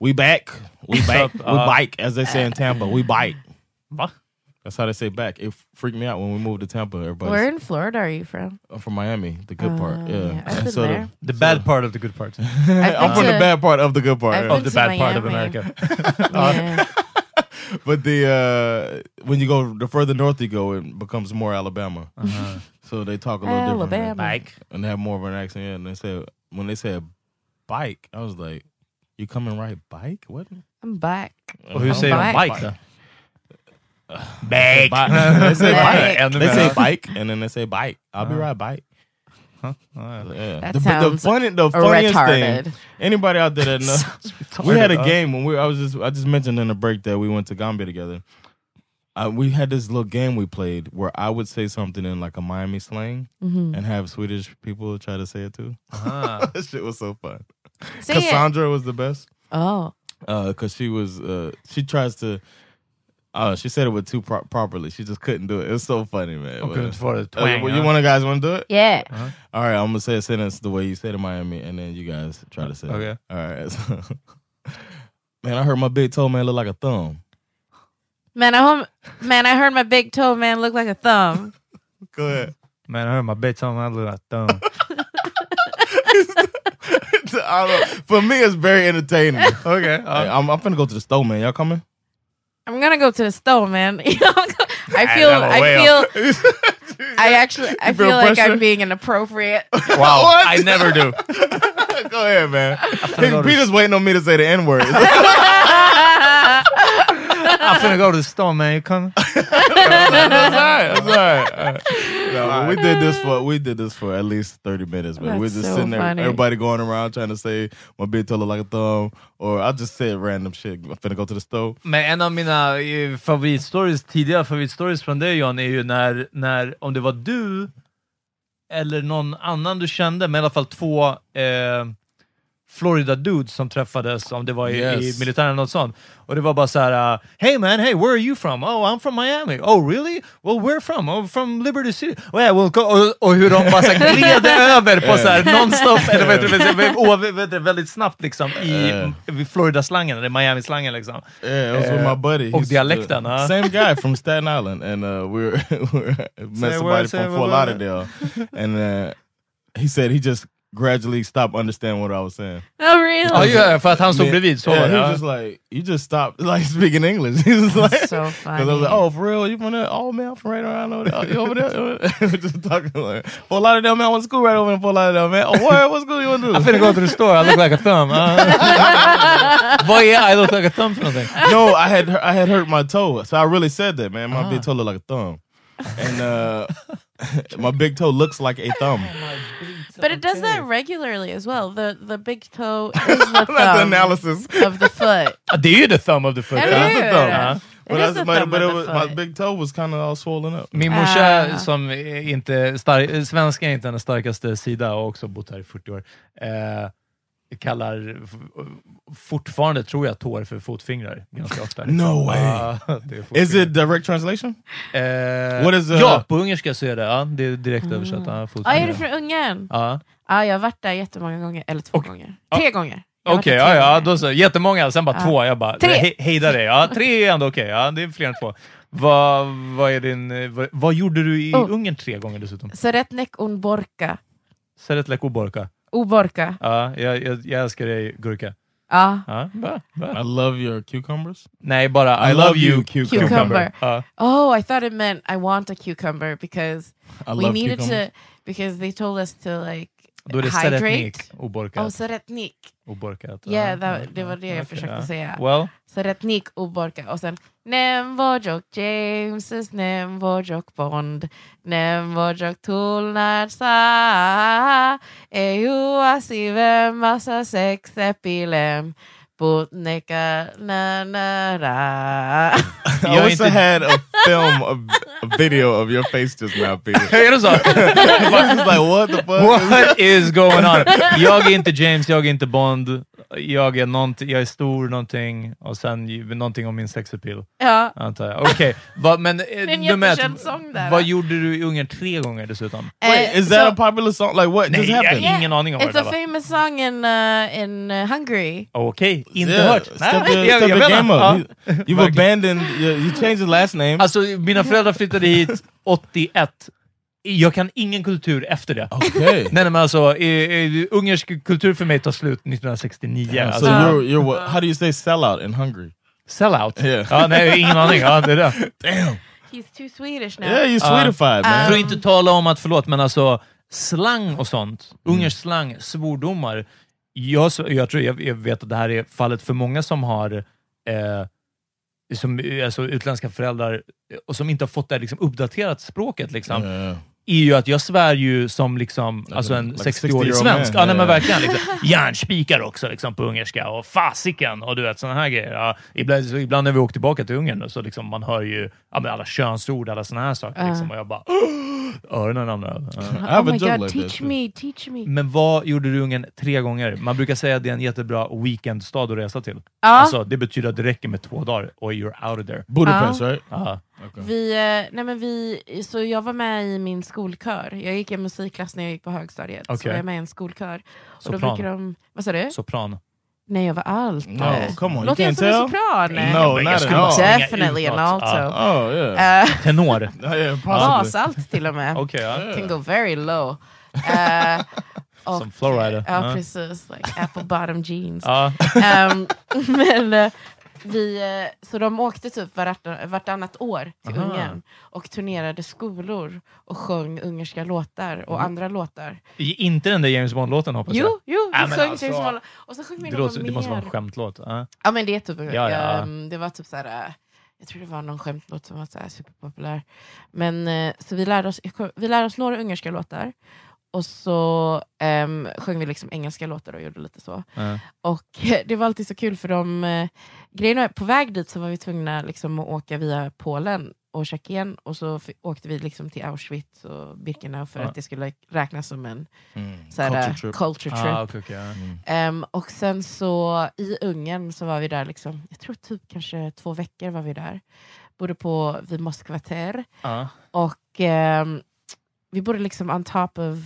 [SPEAKER 4] We back. We back. we
[SPEAKER 5] Sup, uh,
[SPEAKER 4] bike, as they say in Tampa. We bike.
[SPEAKER 3] Va?
[SPEAKER 4] That's how they say back. It freaked me out when we moved to Tampa. Everybody
[SPEAKER 2] Where in Florida are you from?
[SPEAKER 4] I'm from Miami. The good
[SPEAKER 2] Oh,
[SPEAKER 4] part. Yeah.
[SPEAKER 2] yeah. I've
[SPEAKER 4] <laughs>
[SPEAKER 2] been there.
[SPEAKER 3] Eh, The bad part of the good part.
[SPEAKER 4] I'm from the bad part of the good part.
[SPEAKER 3] I've
[SPEAKER 4] yeah.
[SPEAKER 3] been Of the to bad part of Miami. America.
[SPEAKER 4] Uh, <laughs> but the uh, when you go the further north you go, it becomes more Alabama.
[SPEAKER 3] Uh-huh.
[SPEAKER 4] So they talk a little different.
[SPEAKER 2] Alabama.
[SPEAKER 3] Bike.
[SPEAKER 4] And they have more of an accent. Yeah, and they said when they said bike, I was like, You coming right bike? What?
[SPEAKER 2] I'm back.
[SPEAKER 3] Och hur säger de bike då?
[SPEAKER 4] They say bi- <laughs> they say bike.
[SPEAKER 2] Bike.
[SPEAKER 4] Uh-huh.
[SPEAKER 2] Ännu
[SPEAKER 4] They say
[SPEAKER 2] värre.
[SPEAKER 4] bike, and then they say bike. I'll be right bike. Yeah. The, but
[SPEAKER 2] That
[SPEAKER 4] the
[SPEAKER 2] sounds
[SPEAKER 4] funny, the funniest
[SPEAKER 2] retarded.
[SPEAKER 4] thing. Anybody out there
[SPEAKER 2] <laughs>
[SPEAKER 4] that knows? we
[SPEAKER 3] retarded,
[SPEAKER 4] had a
[SPEAKER 3] huh?
[SPEAKER 4] game when we. I was just. I just mentioned in the break that we went to Gambia together. Uh, we had this little game we played where I would say something in like a Miami slang
[SPEAKER 2] Mhm.
[SPEAKER 4] and have Swedish people try to say it too.
[SPEAKER 3] Ah.
[SPEAKER 4] <laughs> That shit was so fun.
[SPEAKER 2] Say it.
[SPEAKER 4] Cassandra was the best
[SPEAKER 2] Oh.
[SPEAKER 4] because she was. Uh, she tries to. Uh, she said it with too pro- properly. She just couldn't do it. It was so funny, man.
[SPEAKER 3] Hon kunde inte få det.
[SPEAKER 4] Uh,
[SPEAKER 3] Twang,
[SPEAKER 4] you
[SPEAKER 3] huh?
[SPEAKER 4] want to guys want to do it?
[SPEAKER 2] Yeah.
[SPEAKER 4] All right, I'm gonna say a sentence the way you said it, Miami, and then you guys try to say.
[SPEAKER 3] Okay.
[SPEAKER 4] It. All right. <laughs> so- man, I heard my big toe man look like a thumb.
[SPEAKER 2] Man, I home, man, I heard my big toe man look like a thumb.
[SPEAKER 4] <laughs> Go ahead. <laughs>
[SPEAKER 3] Man, I heard my bitch on my little thumb.
[SPEAKER 4] I don't- for me, it's very entertaining. <laughs> okay. uh. I'm, I'm finna go to the store, man. Y'all coming?
[SPEAKER 2] I'm gonna go to the store, man. <laughs> You know, I
[SPEAKER 4] Ah,
[SPEAKER 2] feel,
[SPEAKER 4] that
[SPEAKER 2] I
[SPEAKER 4] way up.
[SPEAKER 2] feel, I actually, I
[SPEAKER 4] You <laughs> feel
[SPEAKER 2] feel like
[SPEAKER 4] pressure?
[SPEAKER 2] I'm being inappropriate.
[SPEAKER 4] <laughs>
[SPEAKER 3] Wow. I never do.
[SPEAKER 4] Go ahead, man.
[SPEAKER 3] go to-
[SPEAKER 4] Peter's waiting on me to say the
[SPEAKER 3] <laughs>
[SPEAKER 4] N <laughs> word.
[SPEAKER 3] I'm finna go to the store, man. You coming?
[SPEAKER 4] that's all right. That's all right. Uh, No, but we did this for we did this for at least thirty minutes, man.
[SPEAKER 2] That's
[SPEAKER 4] We're just
[SPEAKER 2] so
[SPEAKER 4] sitting there,
[SPEAKER 2] funny.
[SPEAKER 4] everybody going around trying to say my big toe look like a thumb, or I just said random shit. I'm finna go to the stove.
[SPEAKER 3] Men en av mina eh, favoritstories, tidiga favoritstories från dig John, är ju när, när, om det var du eller någon annan du kände, men i alla fall två eh, Florida dudes som träffades, om det var i,
[SPEAKER 4] Yes.
[SPEAKER 3] i militären eller något sånt. Och det var bara så här: eh, Hey man, hey, where are you from? Oh, I'm from Miami. Oh really? Well, where from? Oh, from Liberty City. Oh, yeah, well, go. Och, och hur de bara så här gled över på så här nonstop, eller vad heter det, vet- vet- vet det, väldigt snabbt liksom i i Florida-slangen, eller Miami-slangen liksom.
[SPEAKER 4] Yeah, it was with
[SPEAKER 3] Eh,
[SPEAKER 4] my buddy.
[SPEAKER 3] Och
[SPEAKER 4] He's the-
[SPEAKER 3] dialekten. ja. <laughs>
[SPEAKER 4] Same guy from Staten Island, and uh, we were, <laughs> we were met
[SPEAKER 3] Say
[SPEAKER 4] somebody
[SPEAKER 3] what, say
[SPEAKER 4] from
[SPEAKER 3] what,
[SPEAKER 4] Fort
[SPEAKER 3] what?
[SPEAKER 4] Lauderdale, and uh, he said he just gradually stopped understanding what I was saying.
[SPEAKER 2] <laughs> Oh, really?
[SPEAKER 3] Ja, ja, för att han stod
[SPEAKER 4] Me-
[SPEAKER 3] bredvid. Så,
[SPEAKER 4] yeah,
[SPEAKER 3] var
[SPEAKER 4] he
[SPEAKER 3] det,
[SPEAKER 4] was
[SPEAKER 3] ja.
[SPEAKER 4] just like, you just stopped <laughs> like speaking English. <laughs> He was like,
[SPEAKER 2] so
[SPEAKER 4] 'cause I
[SPEAKER 2] funny.
[SPEAKER 4] was like, oh, for real? You from there? Oh man, I'm from right around over there. Oh, You over there? <laughs> We're just talking like, Fort Lauderdale man, I went to school right over in Fort Lauderdale man. Oh, where? What school you want to do?
[SPEAKER 3] I'm finna go to the store, <laughs> I look like a thumb. Ah. <laughs> Vad är I look like a thumb för någonting?
[SPEAKER 4] <laughs> no, I had I had hurt my toe, so I really said that, man. My
[SPEAKER 2] Uh-huh.
[SPEAKER 4] big toe looked like a thumb, and uh, <laughs> my big toe looks like a
[SPEAKER 2] <laughs>
[SPEAKER 4] thumb.
[SPEAKER 2] But it does that regularly as well. The the big toe
[SPEAKER 4] <laughs>
[SPEAKER 2] is the
[SPEAKER 4] Not the
[SPEAKER 2] thumb
[SPEAKER 4] analysis.
[SPEAKER 2] of the foot.
[SPEAKER 3] Ah, Det är ju the thumb of the Uh-huh. foot.
[SPEAKER 2] Eller
[SPEAKER 3] ja.
[SPEAKER 4] That's the
[SPEAKER 2] hur?
[SPEAKER 4] thumb.
[SPEAKER 3] Ja.
[SPEAKER 2] It
[SPEAKER 4] But,
[SPEAKER 2] is
[SPEAKER 4] that's
[SPEAKER 2] the
[SPEAKER 4] my,
[SPEAKER 2] thumb
[SPEAKER 4] but
[SPEAKER 2] of
[SPEAKER 4] it
[SPEAKER 2] the
[SPEAKER 4] was, my
[SPEAKER 2] foot.
[SPEAKER 4] big toe was kind of all swollen up.
[SPEAKER 3] Min morsa,
[SPEAKER 2] Ah.
[SPEAKER 3] som är inte stark, eh, svenska är inte hennes starkaste sida och har också bott här i 40 år, eh, kallar f- fortfarande, tror jag, tår för fotfingrar ganska ofta.
[SPEAKER 4] No way.
[SPEAKER 3] Ja, det är
[SPEAKER 4] Is
[SPEAKER 3] fotfingrar.
[SPEAKER 4] it direct translation?
[SPEAKER 3] Eh,
[SPEAKER 4] What is, uh,
[SPEAKER 3] Ja, på ungerska så är det. Ja, det är direkt översatt. Ja,
[SPEAKER 2] Ja, Mm. Ah, är du
[SPEAKER 3] fotfingrar.
[SPEAKER 2] från Ungern?
[SPEAKER 3] Ja.
[SPEAKER 2] Ja, jag har varit där jättemånga gånger. Eller två gånger. Tre gånger. Jag har
[SPEAKER 3] Okej,
[SPEAKER 2] varit där
[SPEAKER 3] ja,
[SPEAKER 2] tre
[SPEAKER 3] ja,
[SPEAKER 2] gånger.
[SPEAKER 3] då så. Jättemånga, sen bara
[SPEAKER 2] Ja.
[SPEAKER 3] två. Jag bara,
[SPEAKER 2] Tre.
[SPEAKER 3] he, hejda dig.
[SPEAKER 2] <laughs>
[SPEAKER 3] Ja, tre är ändå okej. Ja, det är fler än två. Vad, vad, är din, eh, vad, vad gjorde du i
[SPEAKER 2] Oh.
[SPEAKER 3] Ungern tre gånger dessutom?
[SPEAKER 2] Seretnek un borka.
[SPEAKER 3] Seretlek oborka.
[SPEAKER 2] Oborka.
[SPEAKER 3] Ja, jag, jag, jag älskar dig, gurka.
[SPEAKER 2] Ja.
[SPEAKER 3] Ja, va, va?
[SPEAKER 4] I love your cucumbers.
[SPEAKER 3] Nej, bara uh, I,
[SPEAKER 4] I
[SPEAKER 3] love,
[SPEAKER 4] love
[SPEAKER 3] you,
[SPEAKER 4] you,
[SPEAKER 3] cucumber. Uh,
[SPEAKER 2] cucumber.
[SPEAKER 3] Ja.
[SPEAKER 2] Oh, I thought it meant I want a cucumber because
[SPEAKER 4] I
[SPEAKER 2] we
[SPEAKER 4] love
[SPEAKER 2] needed
[SPEAKER 4] cucumbers.
[SPEAKER 2] to because they told us to like
[SPEAKER 3] Då är det
[SPEAKER 2] hydrate.
[SPEAKER 3] seretnik oborka.
[SPEAKER 2] Oh, seretnik.
[SPEAKER 3] oborka.
[SPEAKER 2] Yeah, that- det var det jag försökte säga.
[SPEAKER 3] Well,
[SPEAKER 2] Seretnik oborka. Och sen Nemvojok Jameses, Nemvojok Bond, Nemvojok Tulnatsa, Ejuasivem massa sex epilem, Botneka na
[SPEAKER 3] <laughs>
[SPEAKER 2] na ra.
[SPEAKER 4] I wish I had a film, of, a video of your face just now, <laughs> Peter.
[SPEAKER 3] är det så?
[SPEAKER 4] I was like, what the fuck?
[SPEAKER 3] What is going on? Jag är inte James, jag är inte Bond. jag är, någonting, jag är stor någonting och sen ju- någonting om min sexappeal.
[SPEAKER 2] Ja.
[SPEAKER 3] Antar jag. Okej, vad- men eh,
[SPEAKER 2] är en
[SPEAKER 3] nummer ett,
[SPEAKER 2] jättekänd sång där,
[SPEAKER 3] vad
[SPEAKER 2] va?
[SPEAKER 3] gjorde du i Ungern tre gånger dessutom?
[SPEAKER 2] Eh, Wait,
[SPEAKER 4] Uh,
[SPEAKER 2] is that so- a
[SPEAKER 3] popular song? Like what Nej,
[SPEAKER 4] just
[SPEAKER 3] jag
[SPEAKER 4] happened?
[SPEAKER 3] har ingen aning om
[SPEAKER 2] It's
[SPEAKER 3] vad
[SPEAKER 2] a
[SPEAKER 3] det var.
[SPEAKER 2] famous song in, uh, in uh, Hungary.
[SPEAKER 3] Okej, inte
[SPEAKER 4] Yeah,
[SPEAKER 3] hört.
[SPEAKER 4] step
[SPEAKER 3] Nej,
[SPEAKER 4] your-
[SPEAKER 3] jag- jag
[SPEAKER 4] step your
[SPEAKER 3] vet
[SPEAKER 4] game
[SPEAKER 3] inte.
[SPEAKER 4] up.
[SPEAKER 3] Ja.
[SPEAKER 4] You- you've
[SPEAKER 3] Verkligen.
[SPEAKER 4] abandoned, you, you changed the last name.
[SPEAKER 3] Alltså, mina föräldrar flyttade hit 81. Jag kan ingen kultur efter det.
[SPEAKER 4] <laughs> Okej.
[SPEAKER 3] Nej, nej, men alltså, eh, eh, ungersk kultur för mig tar slut 1969.
[SPEAKER 4] Yeah, so
[SPEAKER 3] alltså.
[SPEAKER 4] you're, uh, you're what, how do you say sellout in Hungary?
[SPEAKER 3] Sellout?
[SPEAKER 4] Yeah.
[SPEAKER 3] Ja, nej, ingen aning. Ja, det är det.
[SPEAKER 2] He's too Swedish now.
[SPEAKER 4] Uh,
[SPEAKER 3] Ja. För att
[SPEAKER 2] Um,
[SPEAKER 3] inte tala om att, förlåt, men alltså slang och sånt. Ungersk slang, svordomar. Jag, så- jag, tror, jag, jag vet att det här är fallet för många som har eh, som, eh, alltså, utländska föräldrar eh, och som inte har fått det här, liksom, uppdaterat språket. Liksom. är ju att jag svär ju som liksom, alltså en
[SPEAKER 4] like
[SPEAKER 3] 60-årig
[SPEAKER 4] 60-year-old
[SPEAKER 3] svensk.
[SPEAKER 4] man.
[SPEAKER 3] Ja, nej, men
[SPEAKER 4] Ja, ja.
[SPEAKER 3] verkligen. Liksom. Järnspikar också liksom, på ungerska och fasiken och du vet sådana här grejer. Ja, ibland, så ibland när vi åker tillbaka till Ungern så liksom, man hör ju ja, men alla könsord, alla sådana här saker.
[SPEAKER 2] Ja.
[SPEAKER 3] Liksom, och jag bara öronen ramlar av.
[SPEAKER 2] <laughs>
[SPEAKER 3] Ja.
[SPEAKER 2] oh my god, teach me, teach me.
[SPEAKER 3] Men vad gjorde du i Ungern tre gånger? Man brukar säga att det är en jättebra weekendstad att resa till.
[SPEAKER 2] Ja.
[SPEAKER 3] Alltså, det betyder att det räcker med två dagar och you're out of there.
[SPEAKER 2] Budapest, Ja.
[SPEAKER 3] right?
[SPEAKER 4] Uh,
[SPEAKER 3] Ja.
[SPEAKER 2] Vi, eh, nej men vi, så jag var med i min skolkör. Jag gick i en musikklass när jag gick på högstadiet. Så
[SPEAKER 3] Okej.
[SPEAKER 2] var jag med i en skolkör. Och då
[SPEAKER 3] Sopran.
[SPEAKER 2] brukar de, vad sa du?
[SPEAKER 3] Sopran.
[SPEAKER 2] Nej, jag var allt.
[SPEAKER 3] No, come on,
[SPEAKER 2] Låter
[SPEAKER 3] you can't
[SPEAKER 2] jag som en
[SPEAKER 3] tell?
[SPEAKER 2] sopran?
[SPEAKER 3] No, not at all.
[SPEAKER 2] Definitely an
[SPEAKER 3] Ja.
[SPEAKER 2] alto.
[SPEAKER 3] Oh,
[SPEAKER 4] yeah.
[SPEAKER 2] Eh,
[SPEAKER 3] Tenor.
[SPEAKER 4] Uh, oh,
[SPEAKER 2] Basalt till och med.
[SPEAKER 3] Okej, ja.
[SPEAKER 2] Can go very low. Eh, och-
[SPEAKER 3] Som Flowrider.
[SPEAKER 2] Ja,
[SPEAKER 3] Ja.
[SPEAKER 2] precis. Like apple bottom jeans.
[SPEAKER 3] Ja.
[SPEAKER 2] Ehm, <laughs> men eh, vi, eh, så de åkte typ vartannat, vartannat år till
[SPEAKER 3] Aha.
[SPEAKER 2] Ungern och turnerade skolor och sjöng ungerska låtar och
[SPEAKER 3] Mm.
[SPEAKER 2] andra låtar.
[SPEAKER 3] I- Inte den där James Bond-låten hoppas jag?
[SPEAKER 2] Jo, jo,
[SPEAKER 3] Ja,
[SPEAKER 2] vi
[SPEAKER 3] men
[SPEAKER 2] sjöng
[SPEAKER 3] alltså,
[SPEAKER 2] James Bond. Och så sjöng vi
[SPEAKER 3] Det,
[SPEAKER 2] någon
[SPEAKER 3] låter,
[SPEAKER 2] mer.
[SPEAKER 3] det måste vara en skämtlåt. Ja.
[SPEAKER 2] Ja men det är typ,
[SPEAKER 3] Ja, ja.
[SPEAKER 2] ehm, det var typ såhär, eh, jag tror det var någon skämtlåt som var såhär superpopulär. Men eh, så vi lärde, oss, vi lärde oss några ungerska låtar, och så um, sjöng vi liksom engelska låtar och gjorde lite så.
[SPEAKER 3] Ja.
[SPEAKER 2] Och eh, det var alltid så kul för de, eh, grejen är, på väg dit så var vi tvungna liksom att åka via Polen och Tjeckien och så f- åkte vi liksom till Auschwitz och Birkenau för
[SPEAKER 3] Ja.
[SPEAKER 2] att det skulle räknas som en
[SPEAKER 3] Mm.
[SPEAKER 2] såhär,
[SPEAKER 3] Culture
[SPEAKER 2] eh,
[SPEAKER 3] trip.
[SPEAKER 2] culture
[SPEAKER 3] Ah,
[SPEAKER 2] trip.
[SPEAKER 3] okej, okej, ja. Mm.
[SPEAKER 2] Ehm, och sen så i Ungern så var vi där, liksom, jag tror typ kanske två veckor var vi där. Bodde på vid Moskvater.
[SPEAKER 3] Ja.
[SPEAKER 2] Och ehm, vi bodde liksom on top of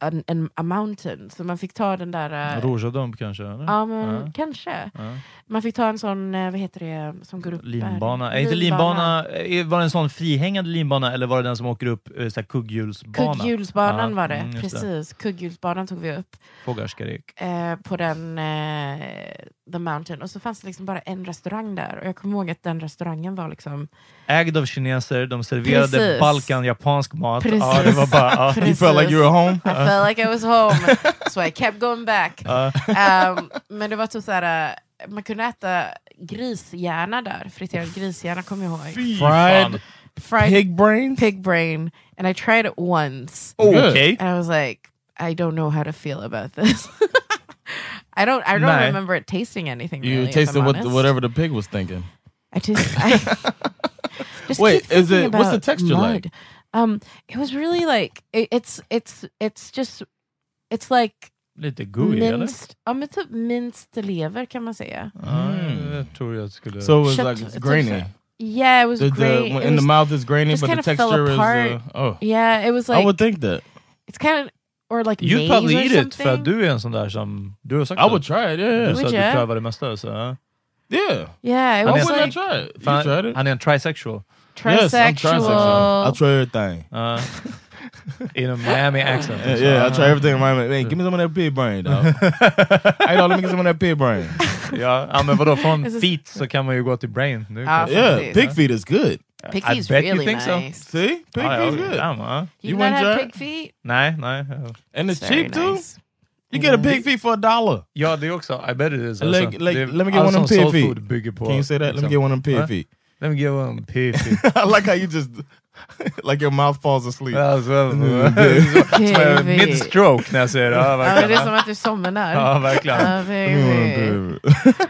[SPEAKER 2] an, an, a mountain. Så man fick ta den där... eh,
[SPEAKER 3] Rouge och Dump kanske? Eller?
[SPEAKER 2] Ja, men
[SPEAKER 3] Ja.
[SPEAKER 2] kanske.
[SPEAKER 3] Ja.
[SPEAKER 2] Man fick ta en sån, eh, vad heter det, som går upp?
[SPEAKER 3] Linbana. Är inte linbana, eh, var det en sån frihängande linbana eller var det den som åker upp eh, så här kugghjulsbana?
[SPEAKER 2] Kugghjulsbanan
[SPEAKER 3] Ja,
[SPEAKER 2] var det,
[SPEAKER 3] mm, just
[SPEAKER 2] precis. Kugghjulsbanan tog vi upp.
[SPEAKER 3] Fogarskarik.
[SPEAKER 2] eh, på den eh, The Mountain och så fanns det liksom bara en restaurang där och jag kommer ihåg att den restaurangen var liksom
[SPEAKER 3] Ägd av kineser, de serverade
[SPEAKER 2] Precis.
[SPEAKER 3] Balkan japansk mat.
[SPEAKER 2] Precis.
[SPEAKER 3] Ja, det var bara, ja.
[SPEAKER 2] Precis. I
[SPEAKER 4] Uh-uh.
[SPEAKER 3] Ja.
[SPEAKER 2] felt like I was home,
[SPEAKER 4] <laughs>
[SPEAKER 2] so I kept going back.
[SPEAKER 4] Uh.
[SPEAKER 3] Ja.
[SPEAKER 2] Ehm, men det var typ såhär, eh, man kunde äta grishjärna där, friterad grishjärna kommer jag ihåg.
[SPEAKER 4] Fried
[SPEAKER 2] Fried
[SPEAKER 4] pig brain?
[SPEAKER 2] Pig brain. And I tried it once.
[SPEAKER 4] Oh, okay.
[SPEAKER 2] And I was like, I don't know how to feel about this. <laughs> I don't, I don't
[SPEAKER 4] Nej.
[SPEAKER 2] remember it tasting anything
[SPEAKER 4] You
[SPEAKER 2] really, if
[SPEAKER 4] tasted
[SPEAKER 2] I'm
[SPEAKER 4] what,
[SPEAKER 2] honest.
[SPEAKER 4] whatever the pig was thinking.
[SPEAKER 2] I just,
[SPEAKER 3] <laughs>
[SPEAKER 2] I just
[SPEAKER 4] Wait,
[SPEAKER 2] keep
[SPEAKER 4] is
[SPEAKER 2] thinking
[SPEAKER 4] it- what's the
[SPEAKER 2] about
[SPEAKER 4] texture like?
[SPEAKER 2] mud. Um, it was really like it, it's it's it's just it's like
[SPEAKER 3] Lite gooey, eller?
[SPEAKER 2] minced, ja men typ minced lever kan man säga.
[SPEAKER 3] Mm. Jag tror jag skulle...
[SPEAKER 4] So it was like it's grainy.
[SPEAKER 2] Yeah, it was
[SPEAKER 4] The- the-
[SPEAKER 2] grainy.
[SPEAKER 4] when-
[SPEAKER 2] It
[SPEAKER 4] in the
[SPEAKER 2] was-
[SPEAKER 4] mouth is grainy,
[SPEAKER 2] just
[SPEAKER 4] but the
[SPEAKER 2] kinda fell
[SPEAKER 4] texture is,
[SPEAKER 2] apart.
[SPEAKER 4] uh, oh.
[SPEAKER 2] Yeah, it was like
[SPEAKER 4] I would think that.
[SPEAKER 2] it's kind of or like
[SPEAKER 3] You'd
[SPEAKER 2] maize
[SPEAKER 3] probably
[SPEAKER 2] or
[SPEAKER 3] eat it,
[SPEAKER 2] something.
[SPEAKER 3] för att du är en sån där som... Du har sagt
[SPEAKER 4] I would try it, yeah, yeah.
[SPEAKER 3] Du sa att
[SPEAKER 4] Would
[SPEAKER 3] du
[SPEAKER 4] ya?
[SPEAKER 3] prövar det mesta. Så, ja.
[SPEAKER 4] Yeah.
[SPEAKER 2] Yeah, it
[SPEAKER 3] Han
[SPEAKER 2] was
[SPEAKER 3] är-
[SPEAKER 2] like
[SPEAKER 3] Fan, Han är en trisexual.
[SPEAKER 2] Yes, I'm trisexual.
[SPEAKER 4] I try everything.
[SPEAKER 3] Uh, in a
[SPEAKER 2] <laughs>
[SPEAKER 3] Miami accent.
[SPEAKER 4] Yeah, yeah, I try everything in my man. Give me some of that pig brain, <laughs> dog. hey, dog, let me get some of that pig
[SPEAKER 2] <laughs>
[SPEAKER 4] brain.
[SPEAKER 3] Ja, ja, men vadå, från
[SPEAKER 4] This is-
[SPEAKER 3] feet så kan man ju gå till brain. Det är
[SPEAKER 4] Ja,
[SPEAKER 3] klart.
[SPEAKER 4] Yeah, precis. pig feet is good.
[SPEAKER 2] Pig
[SPEAKER 3] I
[SPEAKER 2] feet is
[SPEAKER 3] bet
[SPEAKER 2] really
[SPEAKER 3] you think
[SPEAKER 2] nice.
[SPEAKER 3] So.
[SPEAKER 4] See? Pig
[SPEAKER 3] ja,
[SPEAKER 4] feet is
[SPEAKER 3] ja,
[SPEAKER 4] good.
[SPEAKER 3] damn, ja.
[SPEAKER 2] You not have pig feet?
[SPEAKER 3] Nej, nej.
[SPEAKER 4] And it's It's very cheap, too. nice. You get a
[SPEAKER 2] Mm-hmm.
[SPEAKER 4] pig feet for a dollar.
[SPEAKER 3] Ja, det är också. I bet it is.
[SPEAKER 4] Like-
[SPEAKER 3] alltså.
[SPEAKER 4] like,
[SPEAKER 3] Det är-
[SPEAKER 4] let me get
[SPEAKER 3] allt
[SPEAKER 4] one of them
[SPEAKER 3] som
[SPEAKER 4] pig
[SPEAKER 3] soul
[SPEAKER 4] feet.
[SPEAKER 3] food bygger på.
[SPEAKER 4] Can you say that? Let me get one of them pig
[SPEAKER 3] Ja.
[SPEAKER 4] feet.
[SPEAKER 3] Let me get one of them pig feet.
[SPEAKER 4] <laughs> I like how you just like your mouth falls asleep.
[SPEAKER 2] Uh,
[SPEAKER 3] Ja, så-
[SPEAKER 4] Mm,
[SPEAKER 2] <laughs>
[SPEAKER 3] Som är
[SPEAKER 2] Pig feet.
[SPEAKER 3] Mitt stroke när jag säger det. Ja,
[SPEAKER 2] Ja, men
[SPEAKER 3] verkligen.
[SPEAKER 2] det är som att du somnar.
[SPEAKER 3] Ja, verkligen.
[SPEAKER 2] Ja, baby.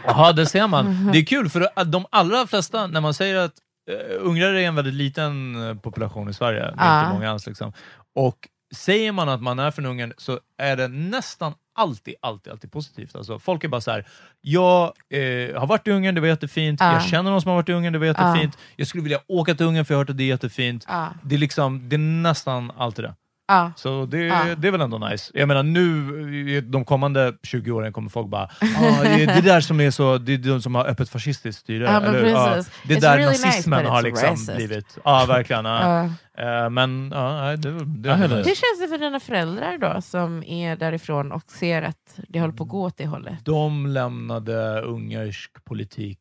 [SPEAKER 3] Jaha, det ser man. Det är kul, för att de allra flesta, när man säger att eh, ungrare är en väldigt liten eh, population i Sverige, det är
[SPEAKER 2] Ja.
[SPEAKER 3] inte många alls, liksom. och säger man att man är från Ungern så är det nästan alltid, alltid, alltid positivt. Alltså, folk är bara så här, jag eh, har varit i Ungern, det var jättefint.
[SPEAKER 2] Ja.
[SPEAKER 3] Jag känner någon som har varit i Ungern, det var
[SPEAKER 2] Ja.
[SPEAKER 3] jättefint. Jag skulle vilja åka till Ungern för jag har hört att det är jättefint.
[SPEAKER 2] Ja.
[SPEAKER 3] Det, är liksom, det är nästan alltid det.
[SPEAKER 2] Ja.
[SPEAKER 3] Så det,
[SPEAKER 2] Ja.
[SPEAKER 3] det är väl ändå nice. Jag menar nu, eh, de kommande 20 åren kommer folk bara,
[SPEAKER 2] <laughs>
[SPEAKER 3] ah, det är det där som är så, det är de som har öppet fascistiskt styre.
[SPEAKER 2] Ja, men
[SPEAKER 3] eller, ja,
[SPEAKER 2] precis.
[SPEAKER 3] det är
[SPEAKER 2] It's
[SPEAKER 3] där
[SPEAKER 2] really nice,
[SPEAKER 3] nazismen
[SPEAKER 2] but
[SPEAKER 3] har
[SPEAKER 2] it's
[SPEAKER 3] liksom
[SPEAKER 2] racist.
[SPEAKER 3] blivit. Ja, verkligen.
[SPEAKER 2] <laughs>
[SPEAKER 3] ja. Eh, men ja, nej, det, det,
[SPEAKER 4] Jag
[SPEAKER 2] Hur känns det för dina föräldrar då, som är därifrån och ser att det håller på att gå åt det hållet?
[SPEAKER 3] De lämnade ungersk politik,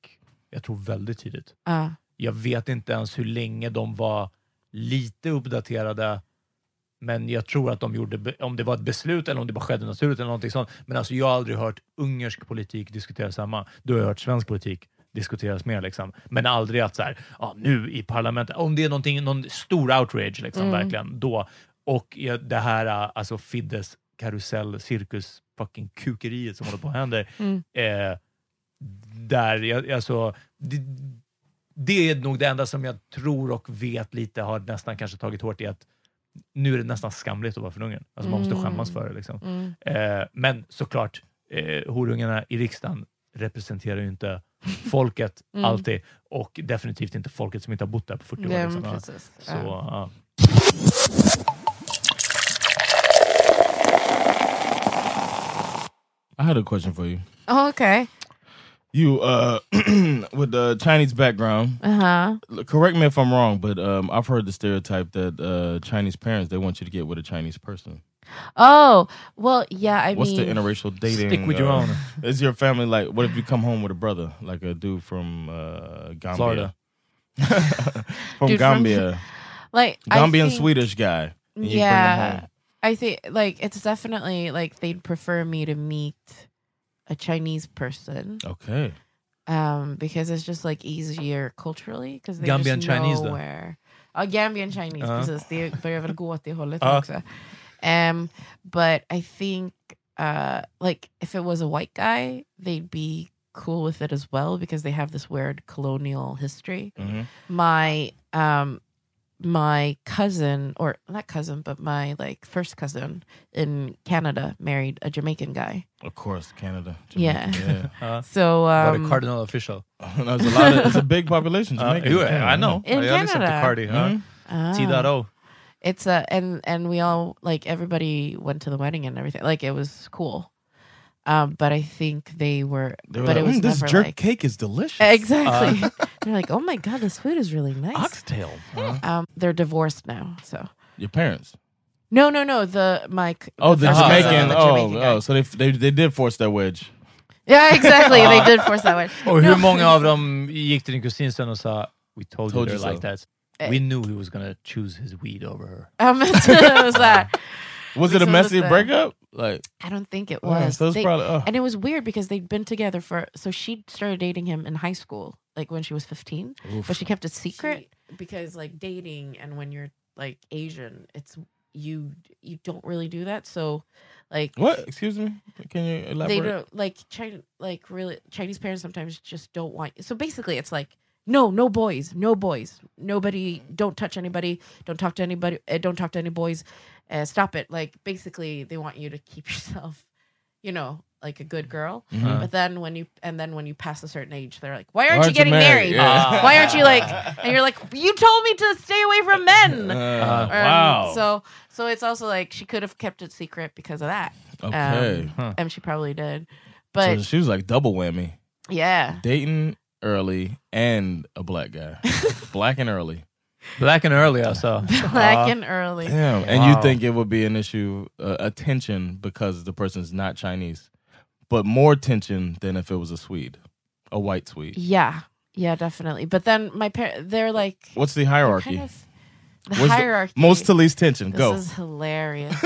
[SPEAKER 3] jag tror väldigt tidigt.
[SPEAKER 2] Ja.
[SPEAKER 3] Jag vet inte ens hur länge de var lite uppdaterade, men jag tror att de gjorde, be- om det var ett beslut eller om det bara skedde naturligt eller någonting sånt. Men alltså, jag har aldrig hört ungersk politik diskuteras samma. Då har jag hört svensk politik diskuteras mer, liksom. men aldrig att så här, ja, nu i parlamentet, om det är någonting, någon stor outrage, liksom,
[SPEAKER 6] Mm.
[SPEAKER 3] verkligen, då. Och ja, det här äh, alltså Fiddes karusell, cirkus, fucking kukeriet som håller på att hända.
[SPEAKER 6] Mm.
[SPEAKER 3] Eh, där, jag, alltså, det, det är nog det enda som jag tror och vet lite har nästan kanske tagit hårt i att nu är det nästan skamligt att vara från Ungern. Alltså man måste
[SPEAKER 6] Mm.
[SPEAKER 3] skämmas för det. Liksom.
[SPEAKER 6] Mm.
[SPEAKER 3] Eh, men såklart, eh, horungarna i riksdagen representerar ju inte folket
[SPEAKER 2] <laughs> Mm.
[SPEAKER 3] alltid och definitivt inte folket som inte har bott där på 40 år.
[SPEAKER 2] Nej, men
[SPEAKER 3] liksom. Ja.
[SPEAKER 2] precis.
[SPEAKER 3] Så,
[SPEAKER 2] Ja.
[SPEAKER 3] ja.
[SPEAKER 4] I had a question for you.
[SPEAKER 2] Oh, Okej.
[SPEAKER 4] You uh, <clears throat> with the Chinese background.
[SPEAKER 2] Uh-huh.
[SPEAKER 4] Look, Correct me if I'm wrong, but um, I've heard the stereotype that uh, Chinese parents they want you to get with a Chinese person.
[SPEAKER 2] Oh, well, yeah, I
[SPEAKER 4] What's
[SPEAKER 2] mean...
[SPEAKER 4] the interracial dating? uh,
[SPEAKER 3] Stick with your own.
[SPEAKER 4] Is your family like? What if you come home with a brother, like a dude from uh, Gambia?
[SPEAKER 3] Florida.
[SPEAKER 4] <laughs> from
[SPEAKER 2] Dude from-
[SPEAKER 4] Gambia.
[SPEAKER 2] like I
[SPEAKER 4] Gambian
[SPEAKER 2] think-
[SPEAKER 4] Swedish guy. and you bring him home.
[SPEAKER 2] Yeah, I think like it's definitely like they'd prefer me to meet a Chinese person.
[SPEAKER 4] Okay.
[SPEAKER 2] Um, because it's just like easier culturally because they
[SPEAKER 3] Gambian
[SPEAKER 2] just
[SPEAKER 3] Chinese
[SPEAKER 2] know
[SPEAKER 3] då?
[SPEAKER 2] where. Ja, Gambian Chinese
[SPEAKER 3] Ja.
[SPEAKER 2] precis.
[SPEAKER 3] <laughs>
[SPEAKER 2] Det börjar väl gå åt det hållet
[SPEAKER 3] Ja.
[SPEAKER 2] också. Um, but I think uh like if it was a white guy, they'd be cool with it as well because they have this weird colonial history.
[SPEAKER 4] Mhm.
[SPEAKER 2] My um my cousin or not cousin but my like first cousin in Canada married a Jamaican guy.
[SPEAKER 4] Of course, Canada.
[SPEAKER 2] Yeah.
[SPEAKER 4] Jamaica,
[SPEAKER 3] Ja.
[SPEAKER 2] So
[SPEAKER 3] Var det
[SPEAKER 2] um,
[SPEAKER 3] cardinal official?
[SPEAKER 4] <laughs> There's a lot of- it's a big population,
[SPEAKER 3] Ja,
[SPEAKER 4] Jamaica.
[SPEAKER 3] jo,
[SPEAKER 4] Yeah.
[SPEAKER 3] I know.
[SPEAKER 2] In
[SPEAKER 3] jag har lyssnat
[SPEAKER 2] Canada.
[SPEAKER 3] på Cardi. ja.
[SPEAKER 2] Mm. Ah.
[SPEAKER 3] T.O.
[SPEAKER 2] It's a and and we all like everybody went to the wedding and everything. Like it was cool. Um, but I think they were,
[SPEAKER 4] They were
[SPEAKER 2] but
[SPEAKER 4] like,
[SPEAKER 2] it was
[SPEAKER 4] "Mm, this
[SPEAKER 2] never
[SPEAKER 4] jerk
[SPEAKER 2] like,
[SPEAKER 4] cake is delicious."
[SPEAKER 2] Exactly.
[SPEAKER 4] Uh.
[SPEAKER 2] They're like, oh my god, this food is really nice.
[SPEAKER 4] Oxtail. Uh.
[SPEAKER 2] Um, they're divorced now, so
[SPEAKER 4] Your parents.
[SPEAKER 2] no, no, no. The Mike.
[SPEAKER 4] Oh, the
[SPEAKER 2] first cousin,
[SPEAKER 4] Jamaican.
[SPEAKER 2] the
[SPEAKER 4] oh,
[SPEAKER 2] Jamaican guy.
[SPEAKER 4] oh, so they, they they did force that
[SPEAKER 2] <laughs>
[SPEAKER 4] wedge.
[SPEAKER 2] Yeah, exactly. they
[SPEAKER 3] Ja.
[SPEAKER 2] did force
[SPEAKER 3] <laughs>
[SPEAKER 2] that one.
[SPEAKER 3] Och Ah. Oh, hur
[SPEAKER 2] No.
[SPEAKER 3] många av dem gick till din kusin sen och sa “We told,
[SPEAKER 4] Told
[SPEAKER 3] you
[SPEAKER 4] you
[SPEAKER 3] they're like
[SPEAKER 4] so."
[SPEAKER 3] that.
[SPEAKER 2] Eh.
[SPEAKER 3] We knew he was gonna choose his weed over her”.
[SPEAKER 2] Ja, men det var så här.
[SPEAKER 4] Was it a
[SPEAKER 2] Liksom
[SPEAKER 4] messy
[SPEAKER 2] lite-
[SPEAKER 4] breakup? Like
[SPEAKER 2] I don't think it
[SPEAKER 4] Oh,
[SPEAKER 2] was.
[SPEAKER 4] so it's
[SPEAKER 2] They-
[SPEAKER 4] probably- oh.
[SPEAKER 2] And it was weird because they'd been together for so she started dating him in high school, like when she was fifteen,
[SPEAKER 7] Oof.
[SPEAKER 2] but she kept it secret because like dating and when you're like Asian, it's you you don't really do that. So like
[SPEAKER 4] what? Excuse me. Can you elaborate?
[SPEAKER 2] they don't like China like really Chinese parents sometimes just don't want so basically it's like no no boys no boys nobody don't touch anybody don't talk to anybody uh, don't talk to any boys uh, stop it like basically they want you to keep yourself you know like a good girl
[SPEAKER 4] Mm-hmm. Uh,
[SPEAKER 7] Mhm.
[SPEAKER 2] but then when you and then when you pass a certain age they're like why aren't,
[SPEAKER 7] aren't
[SPEAKER 2] you
[SPEAKER 7] you
[SPEAKER 2] getting married,
[SPEAKER 7] married? Yeah.
[SPEAKER 2] why aren't you like <laughs> and you're like you told me to stay away from men
[SPEAKER 4] <laughs> Uh,
[SPEAKER 2] Um,
[SPEAKER 4] wow.
[SPEAKER 2] so so it's also like she could have kept it secret because of that Um,
[SPEAKER 4] Okay. Huh.
[SPEAKER 2] and she probably did but
[SPEAKER 4] so she was like double whammy,
[SPEAKER 2] yeah.
[SPEAKER 4] dating early and a black
[SPEAKER 2] <laughs>
[SPEAKER 4] guy, black and early,
[SPEAKER 3] black and early. Also,
[SPEAKER 2] <laughs> Black and early.
[SPEAKER 4] Damn. And you
[SPEAKER 3] Wow.
[SPEAKER 4] think it would be an issue, uh, a tension because the person's not Chinese, but more tension than if it was a Swede, a white Swede.
[SPEAKER 2] Yeah. Yeah, definitely. But then my parents, they're like
[SPEAKER 4] What's the hierarchy?
[SPEAKER 2] kind of- the
[SPEAKER 4] Where's the-
[SPEAKER 2] hierarchy.
[SPEAKER 4] most to least tension.
[SPEAKER 2] This
[SPEAKER 4] Go.
[SPEAKER 2] is hilarious.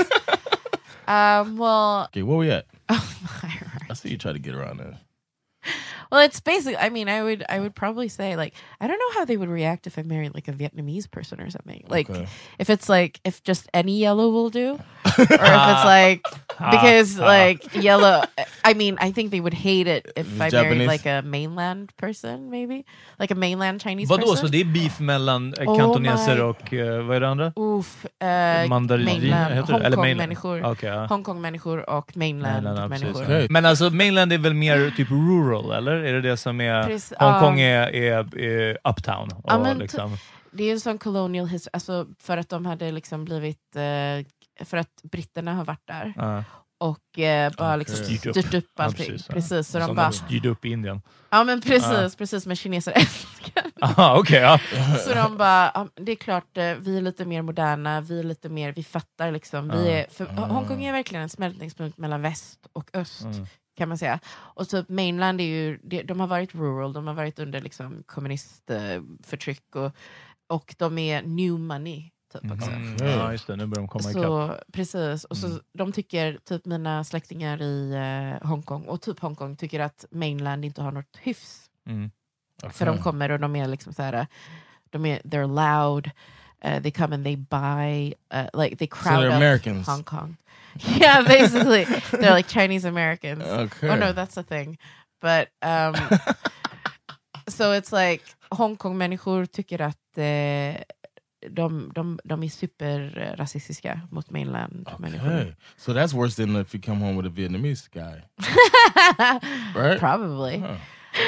[SPEAKER 2] um, well,
[SPEAKER 4] Okay, where we at? Oh, I see you try to get around that.
[SPEAKER 2] Well, it's basically. I mean, I would. I would probably say like I don't know how they would react if I married like a Vietnamese person or something. Like
[SPEAKER 3] Okay.
[SPEAKER 2] if it's like if just any yellow will do, or if it's
[SPEAKER 3] <laughs>
[SPEAKER 2] like
[SPEAKER 3] Ah,
[SPEAKER 2] because
[SPEAKER 3] ah.
[SPEAKER 2] like yellow. I mean, I think they would hate it if I married
[SPEAKER 3] Japanese.
[SPEAKER 2] like a mainland person, maybe like a mainland Chinese.
[SPEAKER 3] Vadå,
[SPEAKER 2] person.
[SPEAKER 3] så det är beef mellan eh,
[SPEAKER 2] Oh
[SPEAKER 3] kantoneser
[SPEAKER 2] my-
[SPEAKER 3] och eh, vad är det andra?
[SPEAKER 2] Oof, eh,
[SPEAKER 3] Mandarin, heter det?
[SPEAKER 2] mainland,
[SPEAKER 3] Eller
[SPEAKER 2] Hongkong-människor
[SPEAKER 3] mainland. Okej, ja.
[SPEAKER 2] Hongkong-människor och mainland-människor.
[SPEAKER 3] Men alltså mainland är väl mer typ rural, eller? Är det det som är...
[SPEAKER 2] Precis,
[SPEAKER 3] Hongkong
[SPEAKER 2] ja.
[SPEAKER 3] är, är, är uptown. Och
[SPEAKER 2] Ja, men t-
[SPEAKER 3] liksom.
[SPEAKER 2] Det är en sån colonial history, alltså för att de hade liksom blivit, eh, för att britterna har varit där
[SPEAKER 3] Ja.
[SPEAKER 2] och eh, bara liksom
[SPEAKER 3] Styrt upp.
[SPEAKER 2] styrt upp
[SPEAKER 3] Ja,
[SPEAKER 2] allting.
[SPEAKER 3] precis,
[SPEAKER 2] precis,
[SPEAKER 3] ja.
[SPEAKER 2] så
[SPEAKER 3] Som
[SPEAKER 2] de bara,
[SPEAKER 3] styrde upp Indien.
[SPEAKER 2] ja men precis,
[SPEAKER 3] Ja.
[SPEAKER 2] precis med kineser <laughs> älskar.
[SPEAKER 3] <laughs> Aha, okej, ja.
[SPEAKER 2] Så de bara, ja, det är klart, eh, vi är lite mer moderna, vi är lite mer, vi fattar liksom. Vi
[SPEAKER 3] Ja.
[SPEAKER 2] är, för Hongkong är verkligen en smältningspunkt mellan väst och öst.
[SPEAKER 3] Mm.
[SPEAKER 2] Kan man säga. Och typ mainland är ju, de, de har varit rural, de har varit under liksom kommunistförtryck och, och de är new money. Typ också.
[SPEAKER 3] Mm. Ja, just det. Nu börjar de komma Mm. ikapp.
[SPEAKER 2] Så, precis. Och så, De tycker, typ mina släktingar i eh, Hongkong, och typ Hongkong, tycker att mainland inte har något hyfs.
[SPEAKER 3] Mm.
[SPEAKER 2] För de kommer och de är liksom så här, de är, they're loud, uh, they come and they buy, uh, like they crowd
[SPEAKER 4] they're
[SPEAKER 2] up
[SPEAKER 4] Americans.
[SPEAKER 2] Hong Kong. <laughs> Yeah, basically. they're like Chinese Americans.
[SPEAKER 4] Okay.
[SPEAKER 2] Oh no, that's a thing. But,
[SPEAKER 4] <laughs>
[SPEAKER 2] um, so it's like Hongkong-människor tycker att eh, de, de, de är superrasistiska mot mainland-människor.
[SPEAKER 4] Hey, so that's worse than if you come home with a Vietnamese guy, <laughs> right?
[SPEAKER 2] Probably.
[SPEAKER 4] Huh.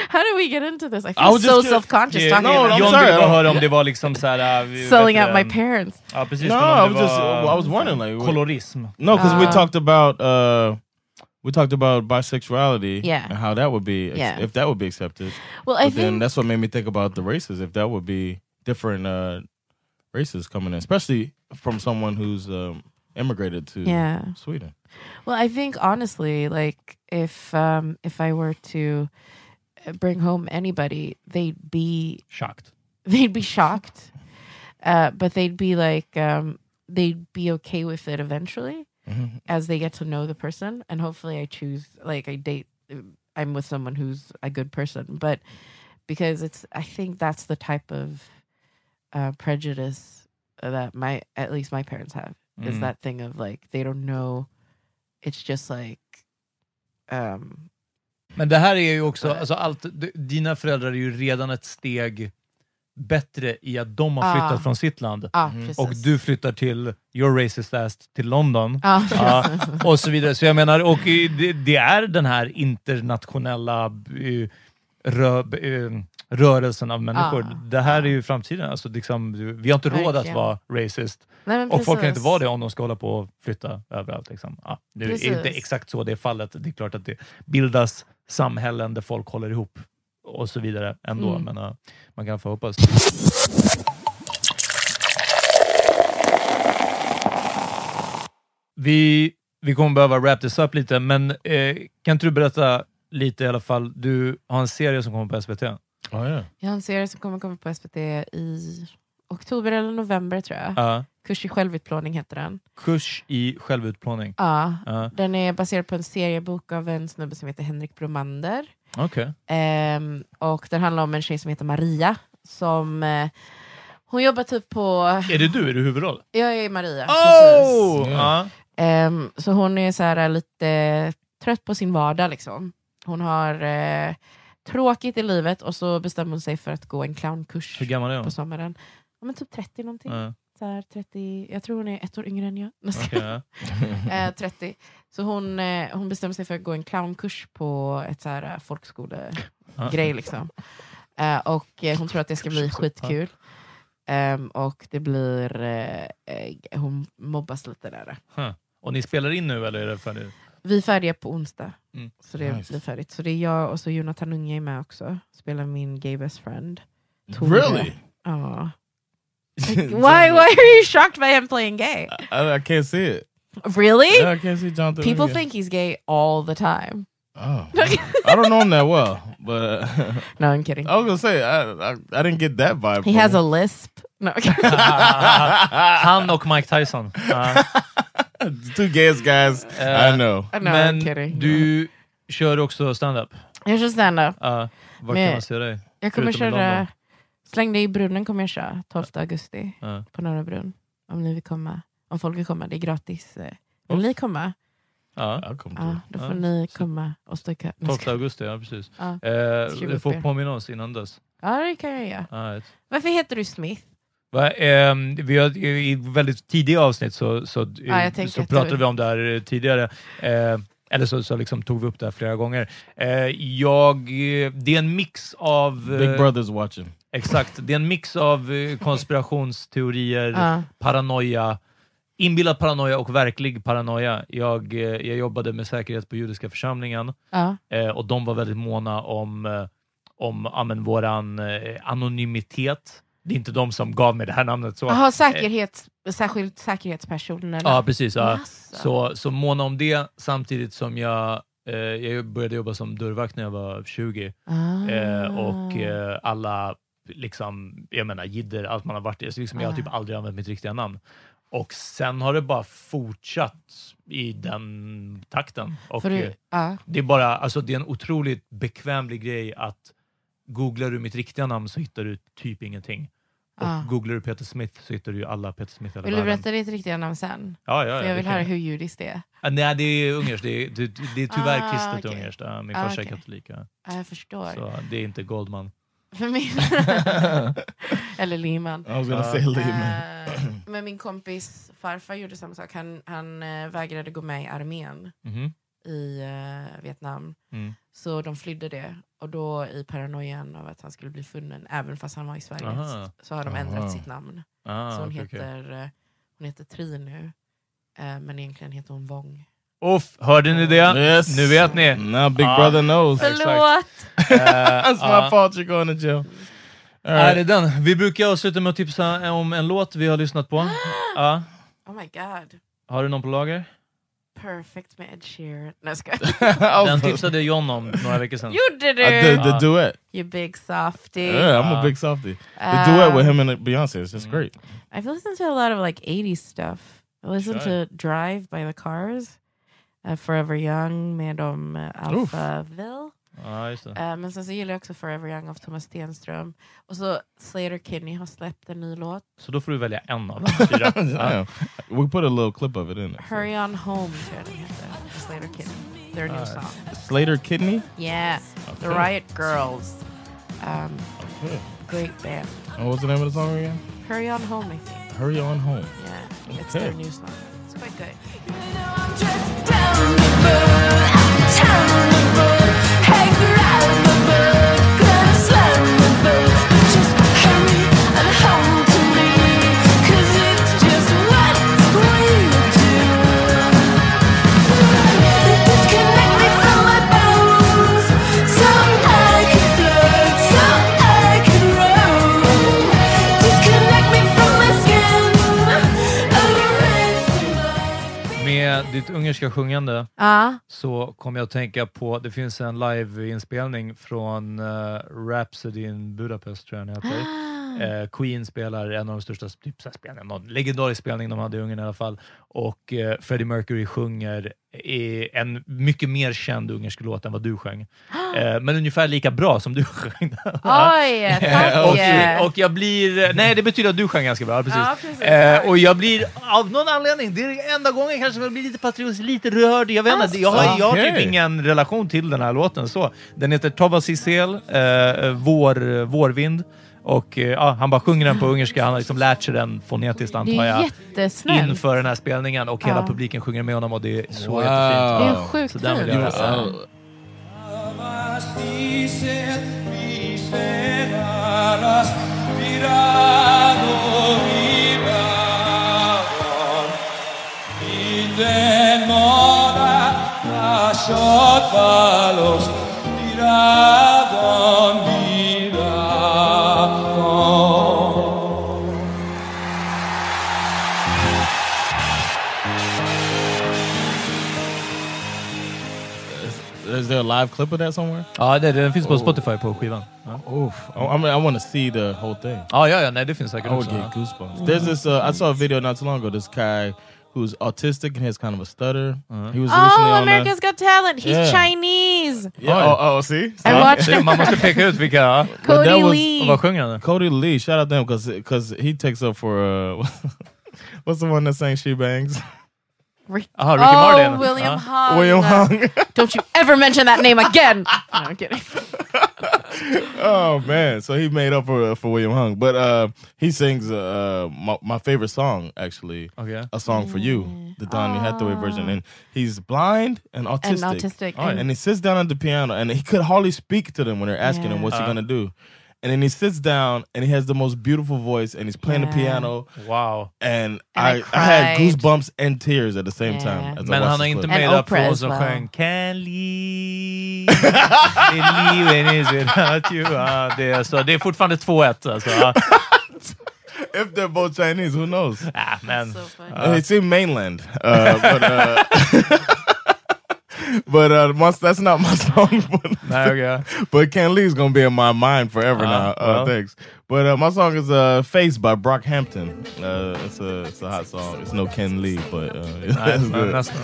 [SPEAKER 2] How do we get into this? I
[SPEAKER 4] I
[SPEAKER 2] feel
[SPEAKER 4] was
[SPEAKER 2] so
[SPEAKER 4] just curious-
[SPEAKER 2] self-conscious
[SPEAKER 4] Yeah,
[SPEAKER 2] talking
[SPEAKER 4] no,
[SPEAKER 2] about
[SPEAKER 4] I'm
[SPEAKER 3] John
[SPEAKER 4] sorry,
[SPEAKER 3] ville
[SPEAKER 4] I
[SPEAKER 3] bara
[SPEAKER 4] don't-
[SPEAKER 3] höra om det var liksom så här... äh,
[SPEAKER 2] Selling
[SPEAKER 3] vet
[SPEAKER 2] out
[SPEAKER 3] du,
[SPEAKER 2] my
[SPEAKER 3] ähm,
[SPEAKER 2] parents.
[SPEAKER 3] Ja, precis.
[SPEAKER 4] No,
[SPEAKER 3] men om
[SPEAKER 4] I
[SPEAKER 3] det
[SPEAKER 4] was just
[SPEAKER 3] var,
[SPEAKER 4] I was wondering like what-
[SPEAKER 3] Kolorism.
[SPEAKER 4] No, because we
[SPEAKER 2] Ah.
[SPEAKER 4] talked about uh, we talked about bisexuality
[SPEAKER 2] Yeah.
[SPEAKER 4] and how that would be ex-
[SPEAKER 2] Yeah.
[SPEAKER 4] if that would be accepted.
[SPEAKER 2] Well, I
[SPEAKER 4] But then
[SPEAKER 2] think-
[SPEAKER 4] that's what made me think about the races. If that would be different uh, races coming in, especially from someone who's um, immigrated to
[SPEAKER 2] Yeah.
[SPEAKER 4] Sweden.
[SPEAKER 2] Well, I think honestly, like if um if I were to uh, bring home anybody, they'd be
[SPEAKER 3] shocked.
[SPEAKER 2] <laughs> They'd be shocked, uh, but they'd be like um they'd be okay with it eventually
[SPEAKER 3] Mhm.
[SPEAKER 2] as they get to know the person, and hopefully, I choose like I date. uh, I'm with someone who's a good person, but because it's I think that's the type of uh, prejudice that my at least my parents have is
[SPEAKER 3] Mm.
[SPEAKER 2] that thing of like they don't know it's just like um
[SPEAKER 3] Men det här är ju också, alltså allt, d- dina föräldrar är ju redan ett steg bättre i att de har flyttat
[SPEAKER 2] Ah.
[SPEAKER 3] från sitt land.
[SPEAKER 2] Ah, Mm. precis.
[SPEAKER 3] och du flyttar till your racist ass till London.
[SPEAKER 2] Ah,
[SPEAKER 3] <laughs> Ja,
[SPEAKER 2] precis.
[SPEAKER 3] och så vidare. Så jag menar, och i- det, det är den här internationella eh, rö, eh, rörelsen av människor.
[SPEAKER 2] Ah.
[SPEAKER 3] Det här är ju framtiden. Alltså, liksom, vi har inte råd att
[SPEAKER 2] Verkligen.
[SPEAKER 3] vara racist.
[SPEAKER 2] Nej, men
[SPEAKER 3] och folk kan inte
[SPEAKER 2] precis.
[SPEAKER 3] vara det om de ska hålla på och flytta överallt. Liksom. Ja, det
[SPEAKER 2] Precis.
[SPEAKER 3] är inte exakt så det är fallet. Det är klart att det bildas samhällen där folk håller ihop och så vidare ändå.
[SPEAKER 2] Mm.
[SPEAKER 3] Men ja, man kan få hoppas. Vi, vi kommer behöva wrap this up lite, men eh, kan inte du berätta lite i alla fall? Du har en serie som kommer på SVT.
[SPEAKER 4] Oh, yeah.
[SPEAKER 2] jag har en serie som kommer komma på SVT i oktober eller november tror jag.
[SPEAKER 3] Ja.
[SPEAKER 2] Kurs i självutplåning heter den.
[SPEAKER 3] Kurs i självutplåning.
[SPEAKER 2] Ja,
[SPEAKER 3] Ja.
[SPEAKER 2] Den är baserad på en seriebok av en snubbe som heter Henrik Bromander.
[SPEAKER 3] Okej.
[SPEAKER 2] Ehm, och den handlar om en tjej som heter Maria. Som, eh, hon jobbar typ på...
[SPEAKER 3] Är det du? Är du huvudroll?
[SPEAKER 2] Jag är Maria.
[SPEAKER 3] Oh!
[SPEAKER 2] precis.
[SPEAKER 3] Ja.
[SPEAKER 2] Ehm, så hon är så här lite trött på sin vardag. Liksom. Hon har eh, tråkigt i livet och så bestämmer hon sig för att gå en clownkurs
[SPEAKER 3] Hur gammal är hon?
[SPEAKER 2] på sommaren. Ja, men typ 30 någonting.
[SPEAKER 3] Ja.
[SPEAKER 2] Så här 30, jag tror hon är ett år yngre än jag. <laughs>
[SPEAKER 3] Okej, ja.
[SPEAKER 2] Eh, 30. Så hon, eh, hon bestämmer sig för att gå en clownkurs på ett så här eh, folkskolegrej.
[SPEAKER 3] Ja.
[SPEAKER 2] Liksom. Eh, och eh, hon tror att det ska bli skitkul. Ehm, och det blir... Eh, eh, hon mobbas lite där.
[SPEAKER 3] Huh. Och ni spelar in nu eller är det färdigt?
[SPEAKER 2] Vi är färdiga på onsdag.
[SPEAKER 3] Mm.
[SPEAKER 2] Så det
[SPEAKER 3] Nice.
[SPEAKER 2] blir färdigt. Så det är jag och så Jonathan Unge är med också. Spelar min gay best friend.
[SPEAKER 4] Really?
[SPEAKER 2] Ja.
[SPEAKER 4] <laughs>
[SPEAKER 2] Like, why, why are you shocked by him playing gay?
[SPEAKER 4] I, I can't see
[SPEAKER 2] <laughs>
[SPEAKER 4] it.
[SPEAKER 2] Really?
[SPEAKER 4] Yeah, Uh, I can't see Jonathan.
[SPEAKER 2] People
[SPEAKER 4] Unge.
[SPEAKER 2] think he's gay all the time. <laughs>
[SPEAKER 4] Oh, I don't know him that well, but <laughs>
[SPEAKER 2] no, I'm kidding.
[SPEAKER 4] I was gonna say I I, I didn't get that vibe.
[SPEAKER 2] He
[SPEAKER 4] from
[SPEAKER 2] has
[SPEAKER 4] him.
[SPEAKER 2] a lisp. No.
[SPEAKER 3] <laughs> Han och Mike
[SPEAKER 2] <laughs>
[SPEAKER 3] Tyson. Uh, Ja.
[SPEAKER 4] <laughs>
[SPEAKER 3] Uh,
[SPEAKER 4] two gayest guys I know.
[SPEAKER 3] Men du kör också stand-up.
[SPEAKER 2] Jag kör standup.
[SPEAKER 3] Ja, var kan
[SPEAKER 2] Men-
[SPEAKER 3] man se dig?
[SPEAKER 2] Jag kommer
[SPEAKER 3] Förutom i
[SPEAKER 2] köra...
[SPEAKER 3] London.
[SPEAKER 2] Släng dig i brunnen kommer jag köra 12 augusti
[SPEAKER 3] Ja.
[SPEAKER 2] på Norra Brunn. Om ni vill komma. Om folk vill komma, det är gratis. Eh, Vill ni komma?
[SPEAKER 3] Ja.
[SPEAKER 2] Ja,
[SPEAKER 4] Ah,
[SPEAKER 2] då
[SPEAKER 3] Uh,
[SPEAKER 2] får ni komma och stå i kö. Nej,
[SPEAKER 3] 12
[SPEAKER 2] ska-
[SPEAKER 3] augusti, ja precis.
[SPEAKER 2] Ja.
[SPEAKER 3] Eh,
[SPEAKER 2] Skriv
[SPEAKER 3] du
[SPEAKER 2] upp
[SPEAKER 3] får
[SPEAKER 2] er.
[SPEAKER 3] påminna oss innan dess.
[SPEAKER 2] Ja, det kan jag göra.
[SPEAKER 3] Right.
[SPEAKER 2] Varför heter du Smith?
[SPEAKER 3] Va, ehm, vi har, I väldigt tidiga avsnitt så, så,
[SPEAKER 2] Ja, jag tänker
[SPEAKER 3] så
[SPEAKER 2] att
[SPEAKER 3] pratade
[SPEAKER 2] du-
[SPEAKER 3] vi om det här eh, tidigare. Eh, eller så, så liksom tog vi upp det här flera gånger. Eh, jag, eh, det är en mix av... eh,
[SPEAKER 4] Big Brother's watching.
[SPEAKER 3] Exakt. Det är en mix av eh, konspirationsteorier,
[SPEAKER 4] Ja.
[SPEAKER 3] paranoia, inbillad paranoia och verklig paranoia. Jag, eh, jag jobbade med säkerhet på judiska församlingen
[SPEAKER 2] Ja.
[SPEAKER 3] eh, och de var väldigt måna om, eh, om ja, men, våran eh, anonymitet. Det är inte de som gav mig det här namnet. Så,
[SPEAKER 2] Jaha,
[SPEAKER 3] eh,
[SPEAKER 2] säkerhet, särskilt säkerhetspersonen? eller?
[SPEAKER 3] Ja, precis. Ja.
[SPEAKER 2] Jaså.
[SPEAKER 3] Så, så måna om det samtidigt som jag, eh, jag började jobba som dörrvakt när jag var 20.
[SPEAKER 2] Ah.
[SPEAKER 3] Eh, och eh, alla, liksom, jag menar jidder, allt man har varit i. Så liksom, Jag har typ
[SPEAKER 2] Ah.
[SPEAKER 3] aldrig använt mitt riktiga namn. Och sen har det bara fortsatt i den takten. Och,
[SPEAKER 2] För du-
[SPEAKER 3] eh,
[SPEAKER 2] ja.
[SPEAKER 3] det, är bara, alltså, det är en otroligt bekvämlig grej att googlar du mitt riktiga namn så hittar du typ ingenting. Och
[SPEAKER 2] Ah.
[SPEAKER 3] googlar du Peter Smith så hittar du ju alla Peter Smith i hela
[SPEAKER 2] Vill du
[SPEAKER 3] världen.
[SPEAKER 2] berätta ditt riktiga namn sen?
[SPEAKER 3] Ja, ja, ja,
[SPEAKER 2] För jag
[SPEAKER 3] det
[SPEAKER 2] vill
[SPEAKER 3] kan
[SPEAKER 2] höra
[SPEAKER 3] jag.
[SPEAKER 2] hur judiskt det är.
[SPEAKER 3] Ja, nej, det är ungerskt. Det är, det, det är tyvärr
[SPEAKER 2] Ah,
[SPEAKER 3] kristet
[SPEAKER 2] okej.
[SPEAKER 3] ungerskt. Ja, min
[SPEAKER 2] Ah,
[SPEAKER 3] farsa
[SPEAKER 2] okej.
[SPEAKER 3] är katolik. Ja.
[SPEAKER 2] Ja, jag förstår.
[SPEAKER 3] Så det är inte Goldman.
[SPEAKER 2] För min... <laughs> Eller Lehman.
[SPEAKER 3] I was gonna say Lehman.
[SPEAKER 2] Eh, men min kompis farfar gjorde samma sak. Han, han eh, vägrade gå med i armén
[SPEAKER 3] Mhm.
[SPEAKER 2] i eh, Vietnam.
[SPEAKER 3] Mm.
[SPEAKER 2] Så de flydde det. Och då i paranoian av att han skulle bli funnen, även fast han var i Sverige,
[SPEAKER 3] Aha.
[SPEAKER 2] s- så har de
[SPEAKER 3] Aha.
[SPEAKER 2] ändrat sitt namn.
[SPEAKER 3] Ah,
[SPEAKER 2] så hon,
[SPEAKER 3] okej, okej.
[SPEAKER 2] heter, eh, hon heter Tri nu, eh, men egentligen heter hon Vong. Mm.
[SPEAKER 3] Uff, hörde ni det?
[SPEAKER 4] Yes.
[SPEAKER 3] Nu vet ni. Uh,
[SPEAKER 4] Now Big Brother knows.
[SPEAKER 2] Förlåt! <laughs>
[SPEAKER 3] Eh,
[SPEAKER 4] That's my fault you're going to jail. All
[SPEAKER 3] Är
[SPEAKER 4] <laughs> right.
[SPEAKER 3] det den? Vi brukar avsluta med att tipsa om en låt vi har lyssnat
[SPEAKER 2] <gasps>
[SPEAKER 3] på. Ja.
[SPEAKER 2] Oh my god,
[SPEAKER 3] Har du någon på lager?
[SPEAKER 2] perfect med Ed Sheeran. Nej, jag skojar.
[SPEAKER 3] Den tipsade John om några veckor Uh. sedan.
[SPEAKER 2] <laughs> Gjorde du?
[SPEAKER 4] I did the duet.
[SPEAKER 2] You big softie.
[SPEAKER 4] Yeah, I'm a big softie. The
[SPEAKER 2] Uh,
[SPEAKER 4] duet with him and Beyonce
[SPEAKER 3] Mm.
[SPEAKER 4] is just great. <laughs>
[SPEAKER 2] I've listened to a lot of like 80s stuff. I listened
[SPEAKER 4] Sure.
[SPEAKER 2] to Drive by the Cars, uh, Forever Young med om uh,
[SPEAKER 3] Oof.
[SPEAKER 2] Alphaville.
[SPEAKER 3] Ja, just det.
[SPEAKER 2] Eh, men sen så gillar jag också Forever Young av Thomas Stenström. Och så Slater Kinney har släppt en ny låt.
[SPEAKER 3] Så då får du välja en av
[SPEAKER 4] <laughs>
[SPEAKER 3] de fyra.
[SPEAKER 4] Damn. We put a little clip of it in there.
[SPEAKER 2] Hurry On Home tror jag den heter. Slater Kinney. Their new song.
[SPEAKER 4] Slater Kidney?
[SPEAKER 2] Yeah, The
[SPEAKER 4] Uh, Okay.
[SPEAKER 2] Riot Girls. Um, Great band.
[SPEAKER 4] Oh, what's the name of the song again?
[SPEAKER 2] Hurry On Home I think.
[SPEAKER 4] Hurry On Home.
[SPEAKER 2] Yeah, it's
[SPEAKER 4] Okay.
[SPEAKER 2] their new song. It's quite good.
[SPEAKER 3] Med ditt ungerska sjungande
[SPEAKER 2] Ja.
[SPEAKER 3] så kom jag att tänka på, det finns en liveinspelning från eh, Rhapsody in Budapest, tror jag den heter. Eh, Queen spelar en av de största typ, så här, spelningarna, någon legendarisk spelning de hade i Ungern i alla fall. Och eh, Freddie Mercury sjunger i en mycket mer känd ungersk låt än vad du sjöng. Eh, men ungefär lika bra som du <laughs> sjöng.
[SPEAKER 2] Oj, tack!
[SPEAKER 3] och, och jag blir... Nej, det betyder att du sjöng ganska bra. Precis.
[SPEAKER 2] Ja, precis.
[SPEAKER 3] Eh, och jag blir av någon anledning, det är enda gången kanske jag blir lite patriotisk, lite rörd. Jag vet
[SPEAKER 2] Ah,
[SPEAKER 3] inte, jag har, jag har typ
[SPEAKER 4] Okej.
[SPEAKER 3] ingen relation till den här låten. Så. Den heter Tova Sisel, eh, vår, Vårvind. Och eh, ja, han bara sjunger den på ungerska, han har liksom lärt sig den fonetiskt
[SPEAKER 2] Ah. Det
[SPEAKER 3] antar
[SPEAKER 2] är
[SPEAKER 3] jag.
[SPEAKER 2] jättesnällt.
[SPEAKER 3] Inför den här spelningen och hela
[SPEAKER 2] Ja.
[SPEAKER 3] publiken sjunger med honom och det är så
[SPEAKER 4] Wow.
[SPEAKER 3] jättefint.
[SPEAKER 4] Det är
[SPEAKER 2] sjukt
[SPEAKER 3] Så den vill
[SPEAKER 2] fint.
[SPEAKER 3] jag höra.
[SPEAKER 4] Ja. Is there a live clip of that somewhere?
[SPEAKER 3] Ja, det, den
[SPEAKER 4] Oh.
[SPEAKER 3] finns på Spotify på skivan. Ja,
[SPEAKER 4] Oof. I, I mean, I want to see the whole thing.
[SPEAKER 3] ja, ja, ja nej, det finns säkert
[SPEAKER 4] I would
[SPEAKER 3] också.
[SPEAKER 4] get
[SPEAKER 3] ja.
[SPEAKER 4] goosebumps. There's this. Uh, I saw a video not too long ago. This guy who's autistic and has kind of a stutter. He was recently
[SPEAKER 2] Oh,
[SPEAKER 4] on uh,
[SPEAKER 2] America's Got Talent! He's
[SPEAKER 4] Yeah.
[SPEAKER 2] Chinese!
[SPEAKER 4] Yeah. Oh, oh, see?
[SPEAKER 2] I watched him.
[SPEAKER 3] Man måste peka ut vilka... ja.
[SPEAKER 2] Cody
[SPEAKER 4] That was-
[SPEAKER 2] Lee.
[SPEAKER 3] Vad sjunger han?
[SPEAKER 4] Cody Lee, shout out to him because he takes up for uh, <laughs> what's the one that sang She Bangs?
[SPEAKER 2] Rick-
[SPEAKER 4] Oh,
[SPEAKER 2] Ricky Oh, Martin. William Hung.
[SPEAKER 4] William Hung.
[SPEAKER 2] <laughs> Don't you ever mention that
[SPEAKER 4] <laughs>
[SPEAKER 2] name again! no, I'm kidding.
[SPEAKER 4] oh man, so he made up for for William Hung, but uh, he sings uh, my, my favorite song actually.
[SPEAKER 3] Okay.
[SPEAKER 4] a song for you, the Donny Hathaway version, and he's blind and autistic,
[SPEAKER 2] autistic, Oh, yeah. and-
[SPEAKER 4] and he sits down at the piano, and he could hardly speak to them when they're asking him
[SPEAKER 2] Yeah. Uh-huh.
[SPEAKER 4] what's he
[SPEAKER 3] Uh.
[SPEAKER 4] gonna do. And then he sits down and he has the most beautiful voice and he's playing the
[SPEAKER 3] Yeah.
[SPEAKER 4] piano.
[SPEAKER 3] Wow.
[SPEAKER 4] And,
[SPEAKER 3] And I
[SPEAKER 4] I, I, had
[SPEAKER 3] cried.
[SPEAKER 4] goosebumps and tears at the same time. As I
[SPEAKER 3] Men han
[SPEAKER 4] watched
[SPEAKER 3] har
[SPEAKER 4] this
[SPEAKER 3] inte
[SPEAKER 4] clip.
[SPEAKER 3] made upp för hon som sjöng
[SPEAKER 4] <laughs>
[SPEAKER 3] Can leave, leaving is without you. Ja, det, är alltså, det är fortfarande 2-1 alltså. Ja,
[SPEAKER 4] <laughs> If they're both Chinese, who knows?
[SPEAKER 3] Ah, men,
[SPEAKER 4] Uh, it's in mainland, uh, but uh, but uh, my, that's not my song. But,
[SPEAKER 3] Nej, okay.
[SPEAKER 4] but Ken Lee's gonna be in my mind forever
[SPEAKER 3] Uh,
[SPEAKER 4] now. Uh,
[SPEAKER 3] well.
[SPEAKER 4] Thanks. But uh, my song is uh, "Face" by Brockhampton. Uh, it's a it's a hot song. It's no Ken Lee, but uh, <laughs>
[SPEAKER 3] nej,
[SPEAKER 4] it's
[SPEAKER 3] men
[SPEAKER 4] good.
[SPEAKER 3] nästan.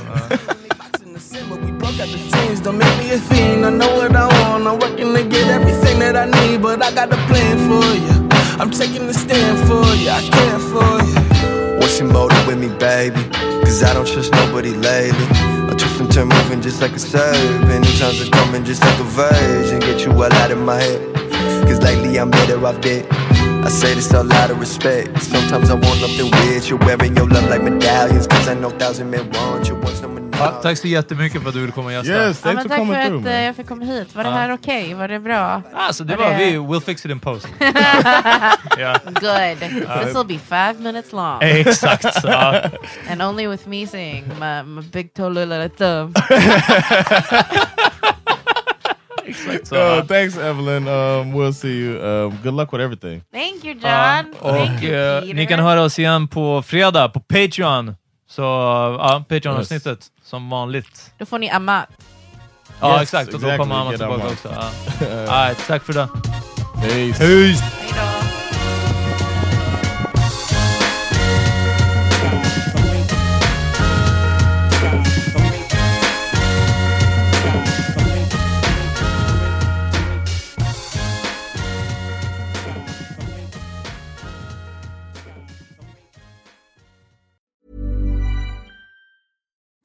[SPEAKER 6] Please don't make me a fiend. I know what I want. I'm working to get everything that I need, but I got a plan for you. I'm taking a stand for you. I care for you.
[SPEAKER 8] What's your motive with me, baby? Cause I don't trust nobody lately. I twist and turn moving just like a serve. And the times are coming just like a virgin. Get you all out of my head. Cause lately I'm better off dead. I say this all out of respect. Sometimes I want nothing weird. You're wearing your love like medallions. Cause I know thousand men want you. Once no one
[SPEAKER 3] Ja, tack så jättemycket för att du ville komma och gästa.
[SPEAKER 2] ja, men tack för att eh, jag fick komma hit. Var det
[SPEAKER 3] Ja.
[SPEAKER 2] här okej? Var det bra?
[SPEAKER 3] Alltså, det var vi. We'll fix it in
[SPEAKER 2] <laughs>
[SPEAKER 3] post. ja.
[SPEAKER 2] Good.
[SPEAKER 3] Ja. Eh,
[SPEAKER 2] This will be five minutes long.
[SPEAKER 3] Exakt. Ja.
[SPEAKER 2] And only with me saying my, my big toe little
[SPEAKER 3] <laughs>
[SPEAKER 2] thumb.
[SPEAKER 3] Exakt så.
[SPEAKER 4] Uh, thanks, Evelyn. Um, we'll see you. Um, good luck with everything.
[SPEAKER 2] Thank you
[SPEAKER 3] Ja,
[SPEAKER 2] John. Thank
[SPEAKER 3] och
[SPEAKER 2] you
[SPEAKER 3] eh,
[SPEAKER 2] Peter.
[SPEAKER 3] ni kan höra oss igen på fredag på Patreon. Så ja, Patreon-avsnittet som vanligt.
[SPEAKER 2] Då får ni Amat.
[SPEAKER 3] Ja,
[SPEAKER 4] Yes,
[SPEAKER 3] exakt. Och då
[SPEAKER 4] exactly.
[SPEAKER 3] kommer Amat
[SPEAKER 4] Get
[SPEAKER 3] tillbaka
[SPEAKER 4] Amat.
[SPEAKER 3] också. Ja.
[SPEAKER 4] <laughs>
[SPEAKER 3] All right, tack för idag.
[SPEAKER 4] Peace.
[SPEAKER 3] Peace.